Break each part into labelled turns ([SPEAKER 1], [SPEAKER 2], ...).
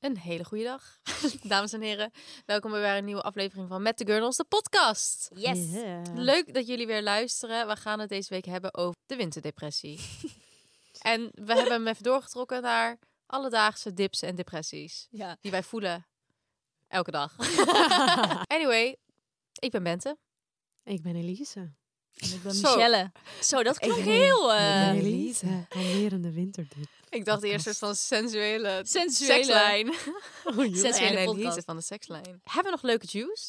[SPEAKER 1] Een hele goede dag, dames en heren. Welkom bij weer een nieuwe aflevering van Met de Gurnels, de podcast.
[SPEAKER 2] Yes.
[SPEAKER 1] Leuk dat jullie weer luisteren. We gaan het deze week hebben over de winterdepressie. en we hebben hem even doorgetrokken naar alledaagse dips en depressies.
[SPEAKER 2] Ja.
[SPEAKER 1] Die wij voelen elke dag. anyway, ik ben Bente.
[SPEAKER 3] Ik ben Elise.
[SPEAKER 2] Ik ben
[SPEAKER 1] Zo.
[SPEAKER 2] Michelle. Zo, dat klonk
[SPEAKER 3] ben-
[SPEAKER 2] heel... eh,
[SPEAKER 3] Ik ben Elise. Almerende winterdip.
[SPEAKER 1] Ik dacht eerst een soort van sensuele
[SPEAKER 2] Sensuele.
[SPEAKER 1] sekslijn.
[SPEAKER 2] Sensuele
[SPEAKER 1] en Elise
[SPEAKER 2] podcast.
[SPEAKER 1] van de sekslijn. Hebben we nog leuke juice?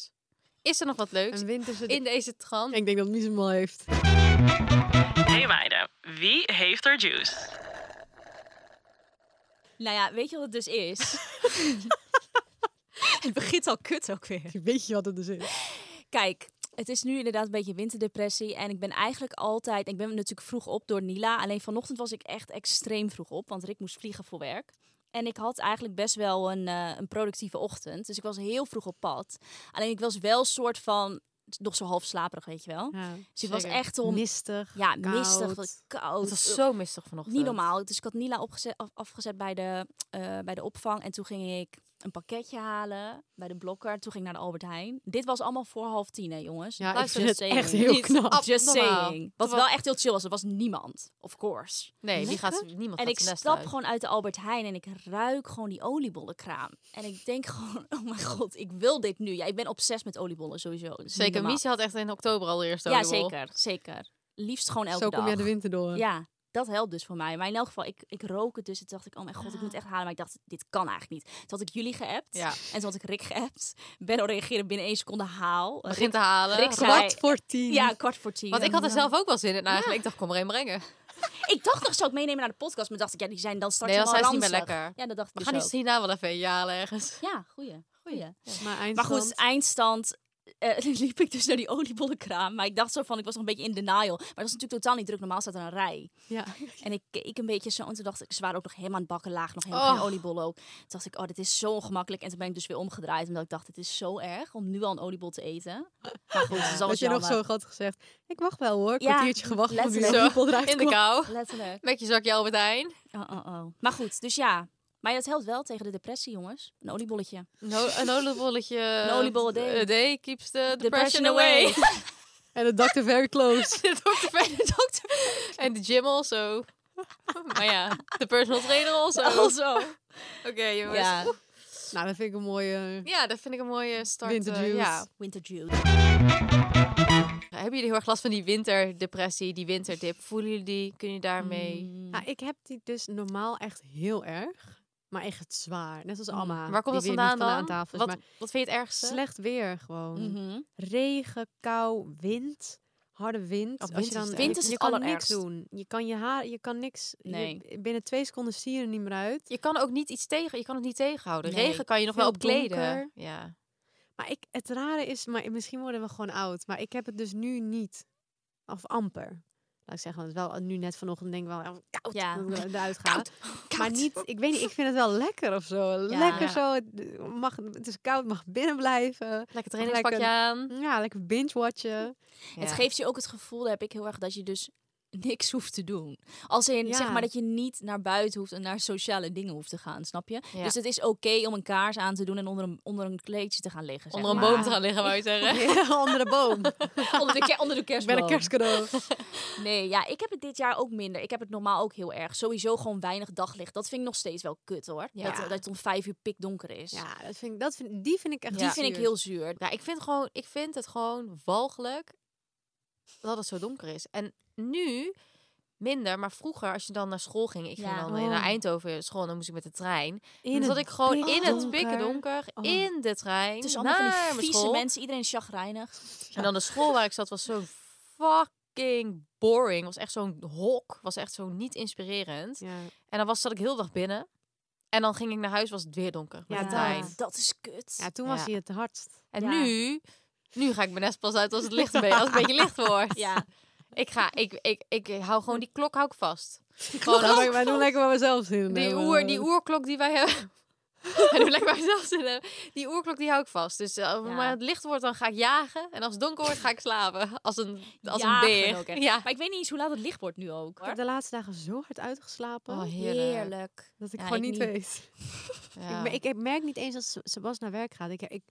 [SPEAKER 1] Is er nog wat leuks?
[SPEAKER 3] Een winterse
[SPEAKER 1] In deze trant.
[SPEAKER 3] Ik denk dat Mies hem al heeft.
[SPEAKER 4] Hey meiden, wie heeft er juice?
[SPEAKER 2] Nou ja, weet je wat het dus is? het begint al kut ook weer.
[SPEAKER 3] Weet je wat het dus is?
[SPEAKER 2] Kijk, het is nu inderdaad een beetje winterdepressie. En ik ben eigenlijk altijd... Ik ben natuurlijk vroeg op door Nila. Alleen vanochtend was ik echt extreem vroeg op. Want Rick moest vliegen voor werk. En ik had eigenlijk best wel een, eh, een productieve ochtend. Dus ik was heel vroeg op pad. Alleen ik was wel soort van... Nog zo half slaperig, weet je wel.
[SPEAKER 3] Ja,
[SPEAKER 2] Dus ik was
[SPEAKER 1] zeker.
[SPEAKER 2] echt om...
[SPEAKER 3] mistig.
[SPEAKER 2] ja,
[SPEAKER 3] koud.
[SPEAKER 2] mistig, wat koud. Eh,
[SPEAKER 1] Het was zo mistig vanochtend.
[SPEAKER 2] Niet normaal. Dus ik had Nila opgezet, af- afgezet bij de, eh, bij de opvang. En toen ging ik een pakketje halen bij de blokker. Toen ging ik naar de Albert Heijn. Dit was allemaal voor half tien, hè, jongens?
[SPEAKER 3] Ja, ik
[SPEAKER 2] Luister,
[SPEAKER 3] vind het
[SPEAKER 2] just saying.
[SPEAKER 3] echt heel
[SPEAKER 1] Niet
[SPEAKER 3] knap.
[SPEAKER 1] af-
[SPEAKER 2] Just
[SPEAKER 1] abnormaal.
[SPEAKER 2] saying. Wat
[SPEAKER 1] Terwijl-
[SPEAKER 2] wel echt heel chill was. Er was niemand, of course.
[SPEAKER 1] Nee, die
[SPEAKER 3] Lekker.
[SPEAKER 1] gaat niemand
[SPEAKER 2] en
[SPEAKER 1] gaat
[SPEAKER 2] ik
[SPEAKER 1] zijn nest
[SPEAKER 2] stap
[SPEAKER 1] uit.
[SPEAKER 2] gewoon uit de Albert Heijn en ik ruik gewoon die oliebollenkraam. En ik denk gewoon, oh mijn god, ik wil dit nu. Ja, ik ben obsessief met oliebollen sowieso. Dat is niet
[SPEAKER 1] Zeker,
[SPEAKER 2] normaal.
[SPEAKER 1] Mies had echt in oktober al eerst
[SPEAKER 2] Ja, zeker, zeker. Liefst gewoon elke
[SPEAKER 3] Zo
[SPEAKER 2] dag.
[SPEAKER 3] kom je de winter door.
[SPEAKER 2] Ja, dat helpt dus voor mij. Maar in elk geval, ik, ik rook het dus. En toen dacht ik, oh mijn god, ik moet het echt halen. Maar ik dacht, dit kan eigenlijk niet. Toen had ik jullie geappt.
[SPEAKER 1] Ah. Ja.
[SPEAKER 2] En toen had ik Rick geappt. Benno reageerde binnen één seconde haal.
[SPEAKER 1] Begint te halen.
[SPEAKER 2] Rick zei-
[SPEAKER 3] Kwart voor tien.
[SPEAKER 2] Ja, kwart voor tien.
[SPEAKER 1] Want ik had er zelf ook wel zin in eigenlijk.
[SPEAKER 2] Ja.
[SPEAKER 1] Ik dacht, kom er een brengen.
[SPEAKER 2] Ik dacht nog, zou ik meenemen naar de podcast? Maar dacht ik, ja, die zijn dan straks
[SPEAKER 1] Nee, dan
[SPEAKER 2] allemaal
[SPEAKER 1] zijn ze niet meer
[SPEAKER 2] ranzig.
[SPEAKER 1] lekker.
[SPEAKER 2] Ja, dat dacht ik
[SPEAKER 1] We
[SPEAKER 2] dus
[SPEAKER 1] gaan die
[SPEAKER 2] ook.
[SPEAKER 1] hierna wel even jalen ergens.
[SPEAKER 2] Ja, goeie. goeie.
[SPEAKER 3] Maar,
[SPEAKER 2] Maar
[SPEAKER 3] eindstand-
[SPEAKER 2] goed, ah, eindstand... eh, liep ik dus naar die oliebollenkraam. Maar ik dacht zo van, ik was nog een beetje in denial. Maar dat is natuurlijk totaal niet druk. Normaal staat er een rij.
[SPEAKER 3] Ja.
[SPEAKER 2] En ik keek een beetje zo. En toen dacht ik, ze waren ook nog helemaal aan het bakken laag. Nog helemaal
[SPEAKER 1] Oh.
[SPEAKER 2] geen oliebol ook. Toen dacht ik, oh, dit is zo ongemakkelijk. En toen ben ik dus weer omgedraaid. Omdat ik dacht, dit is zo erg om nu al een oliebol te eten. Maar goed, dat is
[SPEAKER 3] Dat
[SPEAKER 2] alles
[SPEAKER 3] je nog
[SPEAKER 2] jammer.
[SPEAKER 3] zo had gezegd. Ik wacht wel hoor.
[SPEAKER 2] Ja,
[SPEAKER 3] kwartiertje gewacht. tot die
[SPEAKER 2] letterlijk.
[SPEAKER 3] rimpel eruit
[SPEAKER 1] In de
[SPEAKER 3] komt.
[SPEAKER 1] kou.
[SPEAKER 2] Letterlijk.
[SPEAKER 1] Met je zakje Albert Heijn.
[SPEAKER 2] Oh, oh, oh. Maar goed, dus ja. Maar dat helpt wel tegen de depressie, jongens. Een oliebolletje.
[SPEAKER 1] Een ho- Een oliebolletje. Een
[SPEAKER 2] oliebol a day.
[SPEAKER 1] keeps the depression, away.
[SPEAKER 3] En de dokter very close.
[SPEAKER 1] de dokter verder, de dokter. En de gym also. maar ja, de personal trainer also.
[SPEAKER 2] Also.
[SPEAKER 1] Oké, jongens.
[SPEAKER 2] Ja.
[SPEAKER 1] Oeh.
[SPEAKER 3] nou, dat vind ik een mooie...
[SPEAKER 1] Ja, dat vind ik een mooie start. eh,
[SPEAKER 3] Winterjuice.
[SPEAKER 1] ja.
[SPEAKER 2] Winter Jude.
[SPEAKER 1] Hebben jullie heel erg last van die winterdepressie, die winterdip? Voelen jullie die? Kun je daarmee...
[SPEAKER 2] Mm.
[SPEAKER 3] Nou, ik heb die dus normaal echt heel erg. Maar echt zwaar. Net als Amma.
[SPEAKER 1] Waar komt dat
[SPEAKER 3] die weer
[SPEAKER 1] vandaan
[SPEAKER 3] niet
[SPEAKER 1] dan?
[SPEAKER 3] aan tafel is.
[SPEAKER 1] wat,
[SPEAKER 3] Maar
[SPEAKER 1] wat vind je het ergste?
[SPEAKER 3] slecht weer gewoon.
[SPEAKER 2] Mhm.
[SPEAKER 3] regen, kou, wind. Harde wind.
[SPEAKER 1] Oh,
[SPEAKER 3] Als
[SPEAKER 1] wind
[SPEAKER 3] je
[SPEAKER 1] is
[SPEAKER 3] dan,
[SPEAKER 1] het
[SPEAKER 2] Wind is
[SPEAKER 3] je
[SPEAKER 2] het
[SPEAKER 3] kan niks
[SPEAKER 2] allerergst.
[SPEAKER 3] doen. Je kan je haar, je kan niks. je-
[SPEAKER 2] Nee.
[SPEAKER 3] binnen twee seconden zie je er niet meer uit.
[SPEAKER 1] Je kan ook niet iets tegen, je kan het niet tegenhouden.
[SPEAKER 2] Nee.
[SPEAKER 1] Regen kan je nog wel
[SPEAKER 3] Veel
[SPEAKER 1] opkleden.
[SPEAKER 3] donker.
[SPEAKER 1] Ja.
[SPEAKER 3] Maar ik, het rare is, maar misschien worden we gewoon oud. Maar ik heb het dus nu niet. Of amper. Laat ik zeggen, want wel nu net vanochtend denk ik wel oh, koud
[SPEAKER 2] Ja.
[SPEAKER 3] dat ik eruit ga. Maar niet, ik weet niet, ik vind het wel lekker of zo. Lekker zo. Het, mag, het is koud, mag binnen blijven.
[SPEAKER 1] Lekker trainingspakje
[SPEAKER 3] Lekker.
[SPEAKER 1] aan.
[SPEAKER 3] Ja, lekker binge-watchen.
[SPEAKER 2] Het geeft je ook het gevoel, dat heb ik heel erg, dat je dus niks hoeft te doen. Als in,
[SPEAKER 3] Ja.
[SPEAKER 2] zeg maar, dat je niet naar buiten hoeft en naar sociale dingen hoeft te gaan, snap je?
[SPEAKER 1] Ja.
[SPEAKER 2] Dus het is oké om een kaars aan te doen en onder een, onder een kleedje te gaan liggen. zeg
[SPEAKER 1] Onder een
[SPEAKER 2] maar.
[SPEAKER 1] boom te gaan liggen, wou je zeggen.
[SPEAKER 3] Onder de boom.
[SPEAKER 2] onder, de ke- onder de
[SPEAKER 3] Ik ben
[SPEAKER 2] kerstboom.
[SPEAKER 3] een kerstcadeau.
[SPEAKER 2] Nee, ja, ik heb het dit jaar ook minder. Ik heb het normaal ook heel erg. Sowieso gewoon weinig daglicht. Dat vind ik nog steeds wel kut, hoor.
[SPEAKER 1] Ja.
[SPEAKER 2] Dat, dat het om vijf uur pikdonker is.
[SPEAKER 3] Ja, dat vind ik, dat vind, die vind ik echt
[SPEAKER 2] Die
[SPEAKER 3] ja.
[SPEAKER 2] vind ik
[SPEAKER 3] zuur.
[SPEAKER 2] heel zuur.
[SPEAKER 1] Ja, ik vind, gewoon, ik vind het gewoon walgelijk dat het zo donker is. En nu minder, maar vroeger als je dan naar school ging, ik ging
[SPEAKER 2] Ja.
[SPEAKER 1] dan eh,
[SPEAKER 3] Oh.
[SPEAKER 1] naar Eindhoven school, dan moest ik met de trein.
[SPEAKER 3] in
[SPEAKER 1] Dan zat ik gewoon in het
[SPEAKER 3] pikdonker.
[SPEAKER 1] pikken donker,
[SPEAKER 3] Oh.
[SPEAKER 1] in de trein,
[SPEAKER 2] Het is allemaal
[SPEAKER 1] naar
[SPEAKER 2] van die
[SPEAKER 1] mijn
[SPEAKER 2] vieze
[SPEAKER 1] school.
[SPEAKER 2] mensen. Iedereen is chagrijnig.
[SPEAKER 1] En dan de school waar ik zat was zo fucking boring. Was echt zo'n hok. Was echt zo niet inspirerend.
[SPEAKER 3] Ja.
[SPEAKER 1] En dan was, zat ik heel de dag binnen. En dan ging ik naar huis, was het weer donker. met
[SPEAKER 3] Ja,
[SPEAKER 1] de
[SPEAKER 3] dat.
[SPEAKER 1] trein.
[SPEAKER 2] dat is kut.
[SPEAKER 3] Ja, toen
[SPEAKER 1] Ja.
[SPEAKER 3] was hij het hardst.
[SPEAKER 1] En
[SPEAKER 2] Ja.
[SPEAKER 1] nu, nu ga ik mijn nest pas uit als het, licht een beetje, als het een beetje licht wordt.
[SPEAKER 2] Ja. Hm.
[SPEAKER 1] Ik, ga, ik, ik, ik hou gewoon die klok hou ik vast.
[SPEAKER 3] Gewoon,
[SPEAKER 1] Gewoon
[SPEAKER 3] wij doen lekker waar we zelf zin in
[SPEAKER 1] Die,
[SPEAKER 3] hebben.
[SPEAKER 1] oer, die oerklok die wij hebben. en nu lekker zelf zin hebben. Die oerklok die hou ik vast. Dus eh, als
[SPEAKER 2] Ja.
[SPEAKER 1] maar het licht wordt, dan ga ik jagen. En als het donker wordt, ga ik slapen. Als een, als een
[SPEAKER 2] Jagen
[SPEAKER 1] beer.
[SPEAKER 2] ook echt.
[SPEAKER 1] ja.
[SPEAKER 2] Maar ik weet niet eens hoe laat het licht wordt nu ook.
[SPEAKER 3] Ik heb de laatste dagen zo hard uitgeslapen
[SPEAKER 1] Oh, heerlijk.
[SPEAKER 3] dat ik
[SPEAKER 2] Ja,
[SPEAKER 3] gewoon
[SPEAKER 2] ik
[SPEAKER 3] niet
[SPEAKER 2] niet.
[SPEAKER 3] weet.
[SPEAKER 1] Ja.
[SPEAKER 3] Ik, me- ik, ik merk niet eens dat Seb- Sebas naar werk gaat. Ik, ik,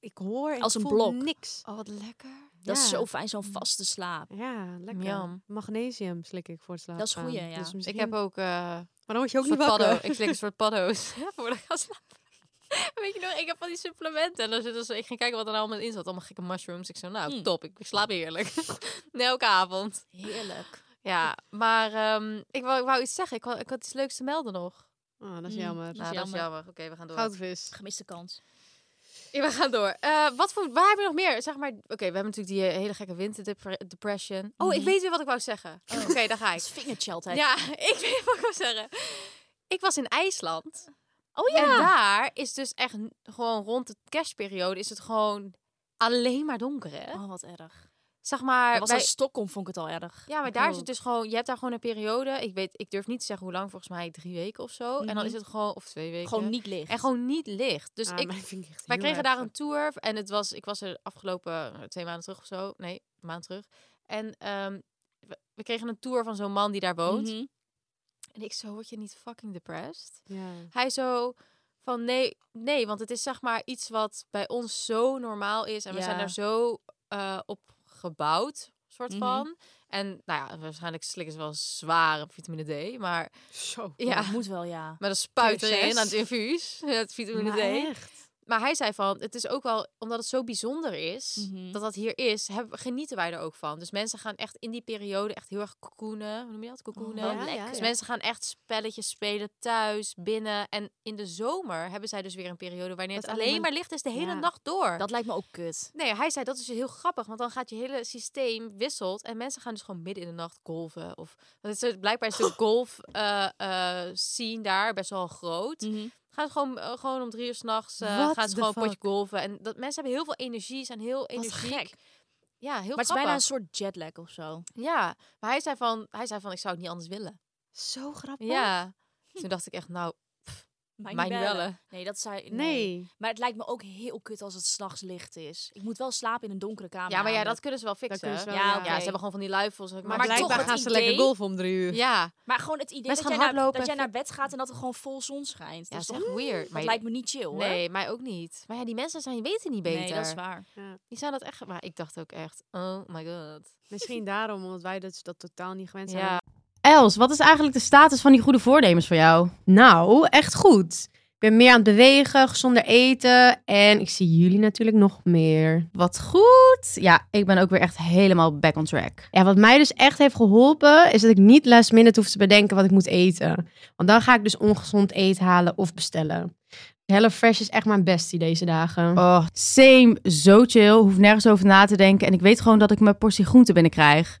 [SPEAKER 3] ik hoor en
[SPEAKER 2] Als
[SPEAKER 3] ik
[SPEAKER 2] een
[SPEAKER 3] voel
[SPEAKER 2] blok.
[SPEAKER 3] niks.
[SPEAKER 1] Oh, wat lekker.
[SPEAKER 2] Dat is
[SPEAKER 3] Ja.
[SPEAKER 2] zo fijn, zo'n vaste slaap.
[SPEAKER 3] Ja, lekker.
[SPEAKER 1] Yum.
[SPEAKER 3] Magnesium slik ik voor het slapen.
[SPEAKER 2] is
[SPEAKER 3] gaan.
[SPEAKER 2] goeie, ja.
[SPEAKER 3] Dus
[SPEAKER 2] Ik
[SPEAKER 3] misschien-
[SPEAKER 1] Ik heb ook... eh,
[SPEAKER 3] Maar dan word je ook niet
[SPEAKER 1] soort paddo.
[SPEAKER 3] wakker.
[SPEAKER 1] Ik slik een soort paddo's voordat ik ga slapen. Weet je nog, ik heb van die supplementen. En dan zitten ze, ik ging kijken wat er allemaal in zat. Allemaal gekke mushrooms. Ik zo, nou,
[SPEAKER 2] Mm.
[SPEAKER 1] top. Ik slaap heerlijk. Nee, Elke avond.
[SPEAKER 2] Heerlijk.
[SPEAKER 1] Ja, maar ehm, ik, wou, ik wou iets zeggen. Ik, wou- ik had iets leuks te melden nog.
[SPEAKER 3] Oh, dat is
[SPEAKER 2] Mm.
[SPEAKER 3] jammer.
[SPEAKER 2] Nou,
[SPEAKER 1] Nou, dat is
[SPEAKER 2] jammer.
[SPEAKER 1] jammer. Oké, we gaan door.
[SPEAKER 3] Goudvis.
[SPEAKER 2] Gemiste kans.
[SPEAKER 1] Ja, we gaan door. Eh, wat voor, waar hebben we nog meer? Zeg maar, oké, we hebben natuurlijk die eh, hele gekke winterdepression. Oh, ik
[SPEAKER 2] Mhm. Oh.
[SPEAKER 1] weet weer wat ik wou zeggen. Oké, daar ga
[SPEAKER 2] Dat
[SPEAKER 1] ik.
[SPEAKER 2] is vingertje altijd.
[SPEAKER 1] Ja, ik weet wat ik wou zeggen. Ik was in IJsland.
[SPEAKER 2] Oh
[SPEAKER 1] En daar is dus echt n- gewoon rond de kerstperiode is het gewoon alleen maar donker, hè?
[SPEAKER 2] Oh, wat erg.
[SPEAKER 1] Zeg maar,
[SPEAKER 2] was
[SPEAKER 1] bij-
[SPEAKER 2] in Stockholm vond ik het al erg.
[SPEAKER 1] ja, maar
[SPEAKER 2] Ik
[SPEAKER 1] daar
[SPEAKER 2] ook.
[SPEAKER 1] zit dus gewoon, je hebt daar gewoon een periode. Ik weet, ik durf niet te zeggen hoe lang, volgens mij drie weken of zo. En dan
[SPEAKER 2] Mhm.
[SPEAKER 1] is het gewoon of twee weken.
[SPEAKER 2] Gewoon niet licht.
[SPEAKER 1] en gewoon niet licht. Dus
[SPEAKER 3] Ah,
[SPEAKER 1] ik,
[SPEAKER 3] maar vind ik echt
[SPEAKER 1] wij
[SPEAKER 3] heel
[SPEAKER 1] kregen
[SPEAKER 3] erg.
[SPEAKER 1] daar een tour en het was, ik was er afgelopen eh, twee maanden terug of zo, nee, een maand terug. En ehm, we, we kregen een tour van zo'n man die daar woont.
[SPEAKER 2] Mhm.
[SPEAKER 1] En ik zo word je niet fucking depressed.
[SPEAKER 3] Ja.
[SPEAKER 1] hij zo van nee, nee, want het is zeg maar iets wat bij ons zo normaal is en we
[SPEAKER 2] Ja.
[SPEAKER 1] zijn daar zo eh, op gebouwd, soort
[SPEAKER 2] Mhm.
[SPEAKER 1] van. En nou ja, waarschijnlijk slikken ze wel zware vitamine D, maar
[SPEAKER 3] Zo.
[SPEAKER 1] ja,
[SPEAKER 2] Dat moet wel, ja.
[SPEAKER 1] met een spuit
[SPEAKER 3] Keer
[SPEAKER 1] erin
[SPEAKER 3] zes.
[SPEAKER 1] aan het infuus, het vitamine
[SPEAKER 3] Maar
[SPEAKER 1] D.
[SPEAKER 3] echt.
[SPEAKER 1] Maar hij zei van, het is ook wel, omdat het zo bijzonder is,
[SPEAKER 2] Mhm.
[SPEAKER 1] dat dat hier is, hebben, genieten wij er ook van. Dus mensen gaan echt in die periode echt heel erg kokoenen, hoe noem je dat? Kokoenen.
[SPEAKER 2] wel
[SPEAKER 3] Oh, Ja,
[SPEAKER 2] lekker.
[SPEAKER 3] ja,
[SPEAKER 1] Dus
[SPEAKER 3] ja.
[SPEAKER 1] mensen gaan echt spelletjes spelen thuis, binnen. En in de zomer hebben zij dus weer een periode wanneer
[SPEAKER 3] Dat
[SPEAKER 1] het
[SPEAKER 3] alleen
[SPEAKER 1] alleen
[SPEAKER 3] maar-
[SPEAKER 1] maar licht is de hele
[SPEAKER 3] Ja.
[SPEAKER 1] nacht door.
[SPEAKER 2] Dat lijkt me ook kut.
[SPEAKER 1] Nee, hij zei dat is heel grappig, want dan gaat je hele systeem wisselt. En mensen gaan dus gewoon midden in de nacht golven. Of, want het is, blijkbaar is de golf eh, eh, scene daar best wel groot.
[SPEAKER 2] Mhm.
[SPEAKER 1] Gaan ze gewoon, eh, gewoon om drie uur s'nachts, eh
[SPEAKER 3] What
[SPEAKER 1] gaan ze
[SPEAKER 3] the
[SPEAKER 1] gewoon een
[SPEAKER 3] fuck?
[SPEAKER 1] potje golven. En dat, mensen hebben heel veel energie, zijn heel energiek.
[SPEAKER 2] gek.
[SPEAKER 1] Ja, heel
[SPEAKER 2] Maar het is
[SPEAKER 1] grappig.
[SPEAKER 2] bijna een soort jetlag of zo.
[SPEAKER 1] Ja, maar hij zei, van, hij zei van, ik zou het niet anders willen.
[SPEAKER 3] Zo grappig.
[SPEAKER 1] Ja. Toen dacht ik echt, nou,
[SPEAKER 2] Mij
[SPEAKER 1] mij niet bellen.
[SPEAKER 2] Nee, dat zei... Nee.
[SPEAKER 3] Nee.
[SPEAKER 2] Maar het lijkt me ook heel kut als het s'nachts licht is. Ik moet wel slapen in een donkere kamer.
[SPEAKER 1] Ja, maar ja, dat
[SPEAKER 2] namelijk.
[SPEAKER 1] kunnen ze wel fixen.
[SPEAKER 3] Dat kunnen ze wel,
[SPEAKER 2] Ja,
[SPEAKER 3] ja.
[SPEAKER 2] oké.
[SPEAKER 1] Ja, ze hebben gewoon van die luifels. Maar,
[SPEAKER 3] Maar,
[SPEAKER 2] maar toch
[SPEAKER 3] blijkbaar
[SPEAKER 2] het
[SPEAKER 3] gaan ze
[SPEAKER 2] idee-
[SPEAKER 3] lekker golven om drie uur.
[SPEAKER 1] Ja,
[SPEAKER 2] Maar gewoon het idee dat
[SPEAKER 1] Mensen
[SPEAKER 2] jij,
[SPEAKER 1] gaan
[SPEAKER 2] naar,
[SPEAKER 1] hardlopen
[SPEAKER 2] dat jij
[SPEAKER 1] en
[SPEAKER 2] naar bed gaat en dat er gewoon vol zon schijnt.
[SPEAKER 1] ja
[SPEAKER 2] dat is toch,
[SPEAKER 1] is echt weird.
[SPEAKER 2] dat
[SPEAKER 1] Maar
[SPEAKER 2] lijkt me niet chill, hoor.
[SPEAKER 1] Nee, mij ook niet. Maar ja, die mensen zijn, weten niet beter.
[SPEAKER 2] Nee, dat is waar.
[SPEAKER 1] Die zijn dat echt... Maar ik dacht ook echt, oh my god.
[SPEAKER 3] Misschien daarom, omdat wij dat, dat totaal niet gewend zijn.
[SPEAKER 1] Ja.
[SPEAKER 5] Els, wat is eigenlijk de status van die goede voornemens voor jou?
[SPEAKER 6] Nou, echt goed. Ik ben meer aan het bewegen, gezonder eten en ik zie jullie natuurlijk nog meer.
[SPEAKER 5] Wat goed. Ja, ik ben ook weer echt helemaal back on track.
[SPEAKER 6] Ja, wat mij dus echt heeft geholpen is dat ik niet last minute hoef te bedenken wat ik moet eten. Want dan ga ik dus ongezond eten halen of bestellen. HelloFresh is echt mijn bestie deze dagen.
[SPEAKER 5] Oh, same. Zo chill. Hoef nergens over na te denken. En ik weet gewoon dat ik mijn portie groente binnenkrijg.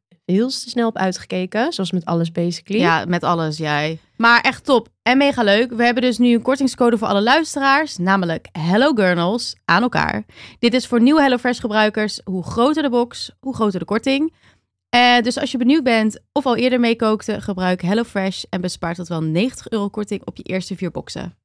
[SPEAKER 6] heel te snel op uitgekeken. Zoals met alles basically.
[SPEAKER 5] Ja, met alles, jij. Maar echt top en mega leuk. We hebben dus nu een kortingscode voor alle luisteraars, namelijk Hello Gurnals aan elkaar. Dit is voor nieuwe HelloFresh gebruikers. Hoe groter de box, hoe groter de korting. Eh, dus als je benieuwd bent of al eerder meekookte, gebruik HelloFresh en bespaart tot wel 90 euro korting op je eerste vier boxen.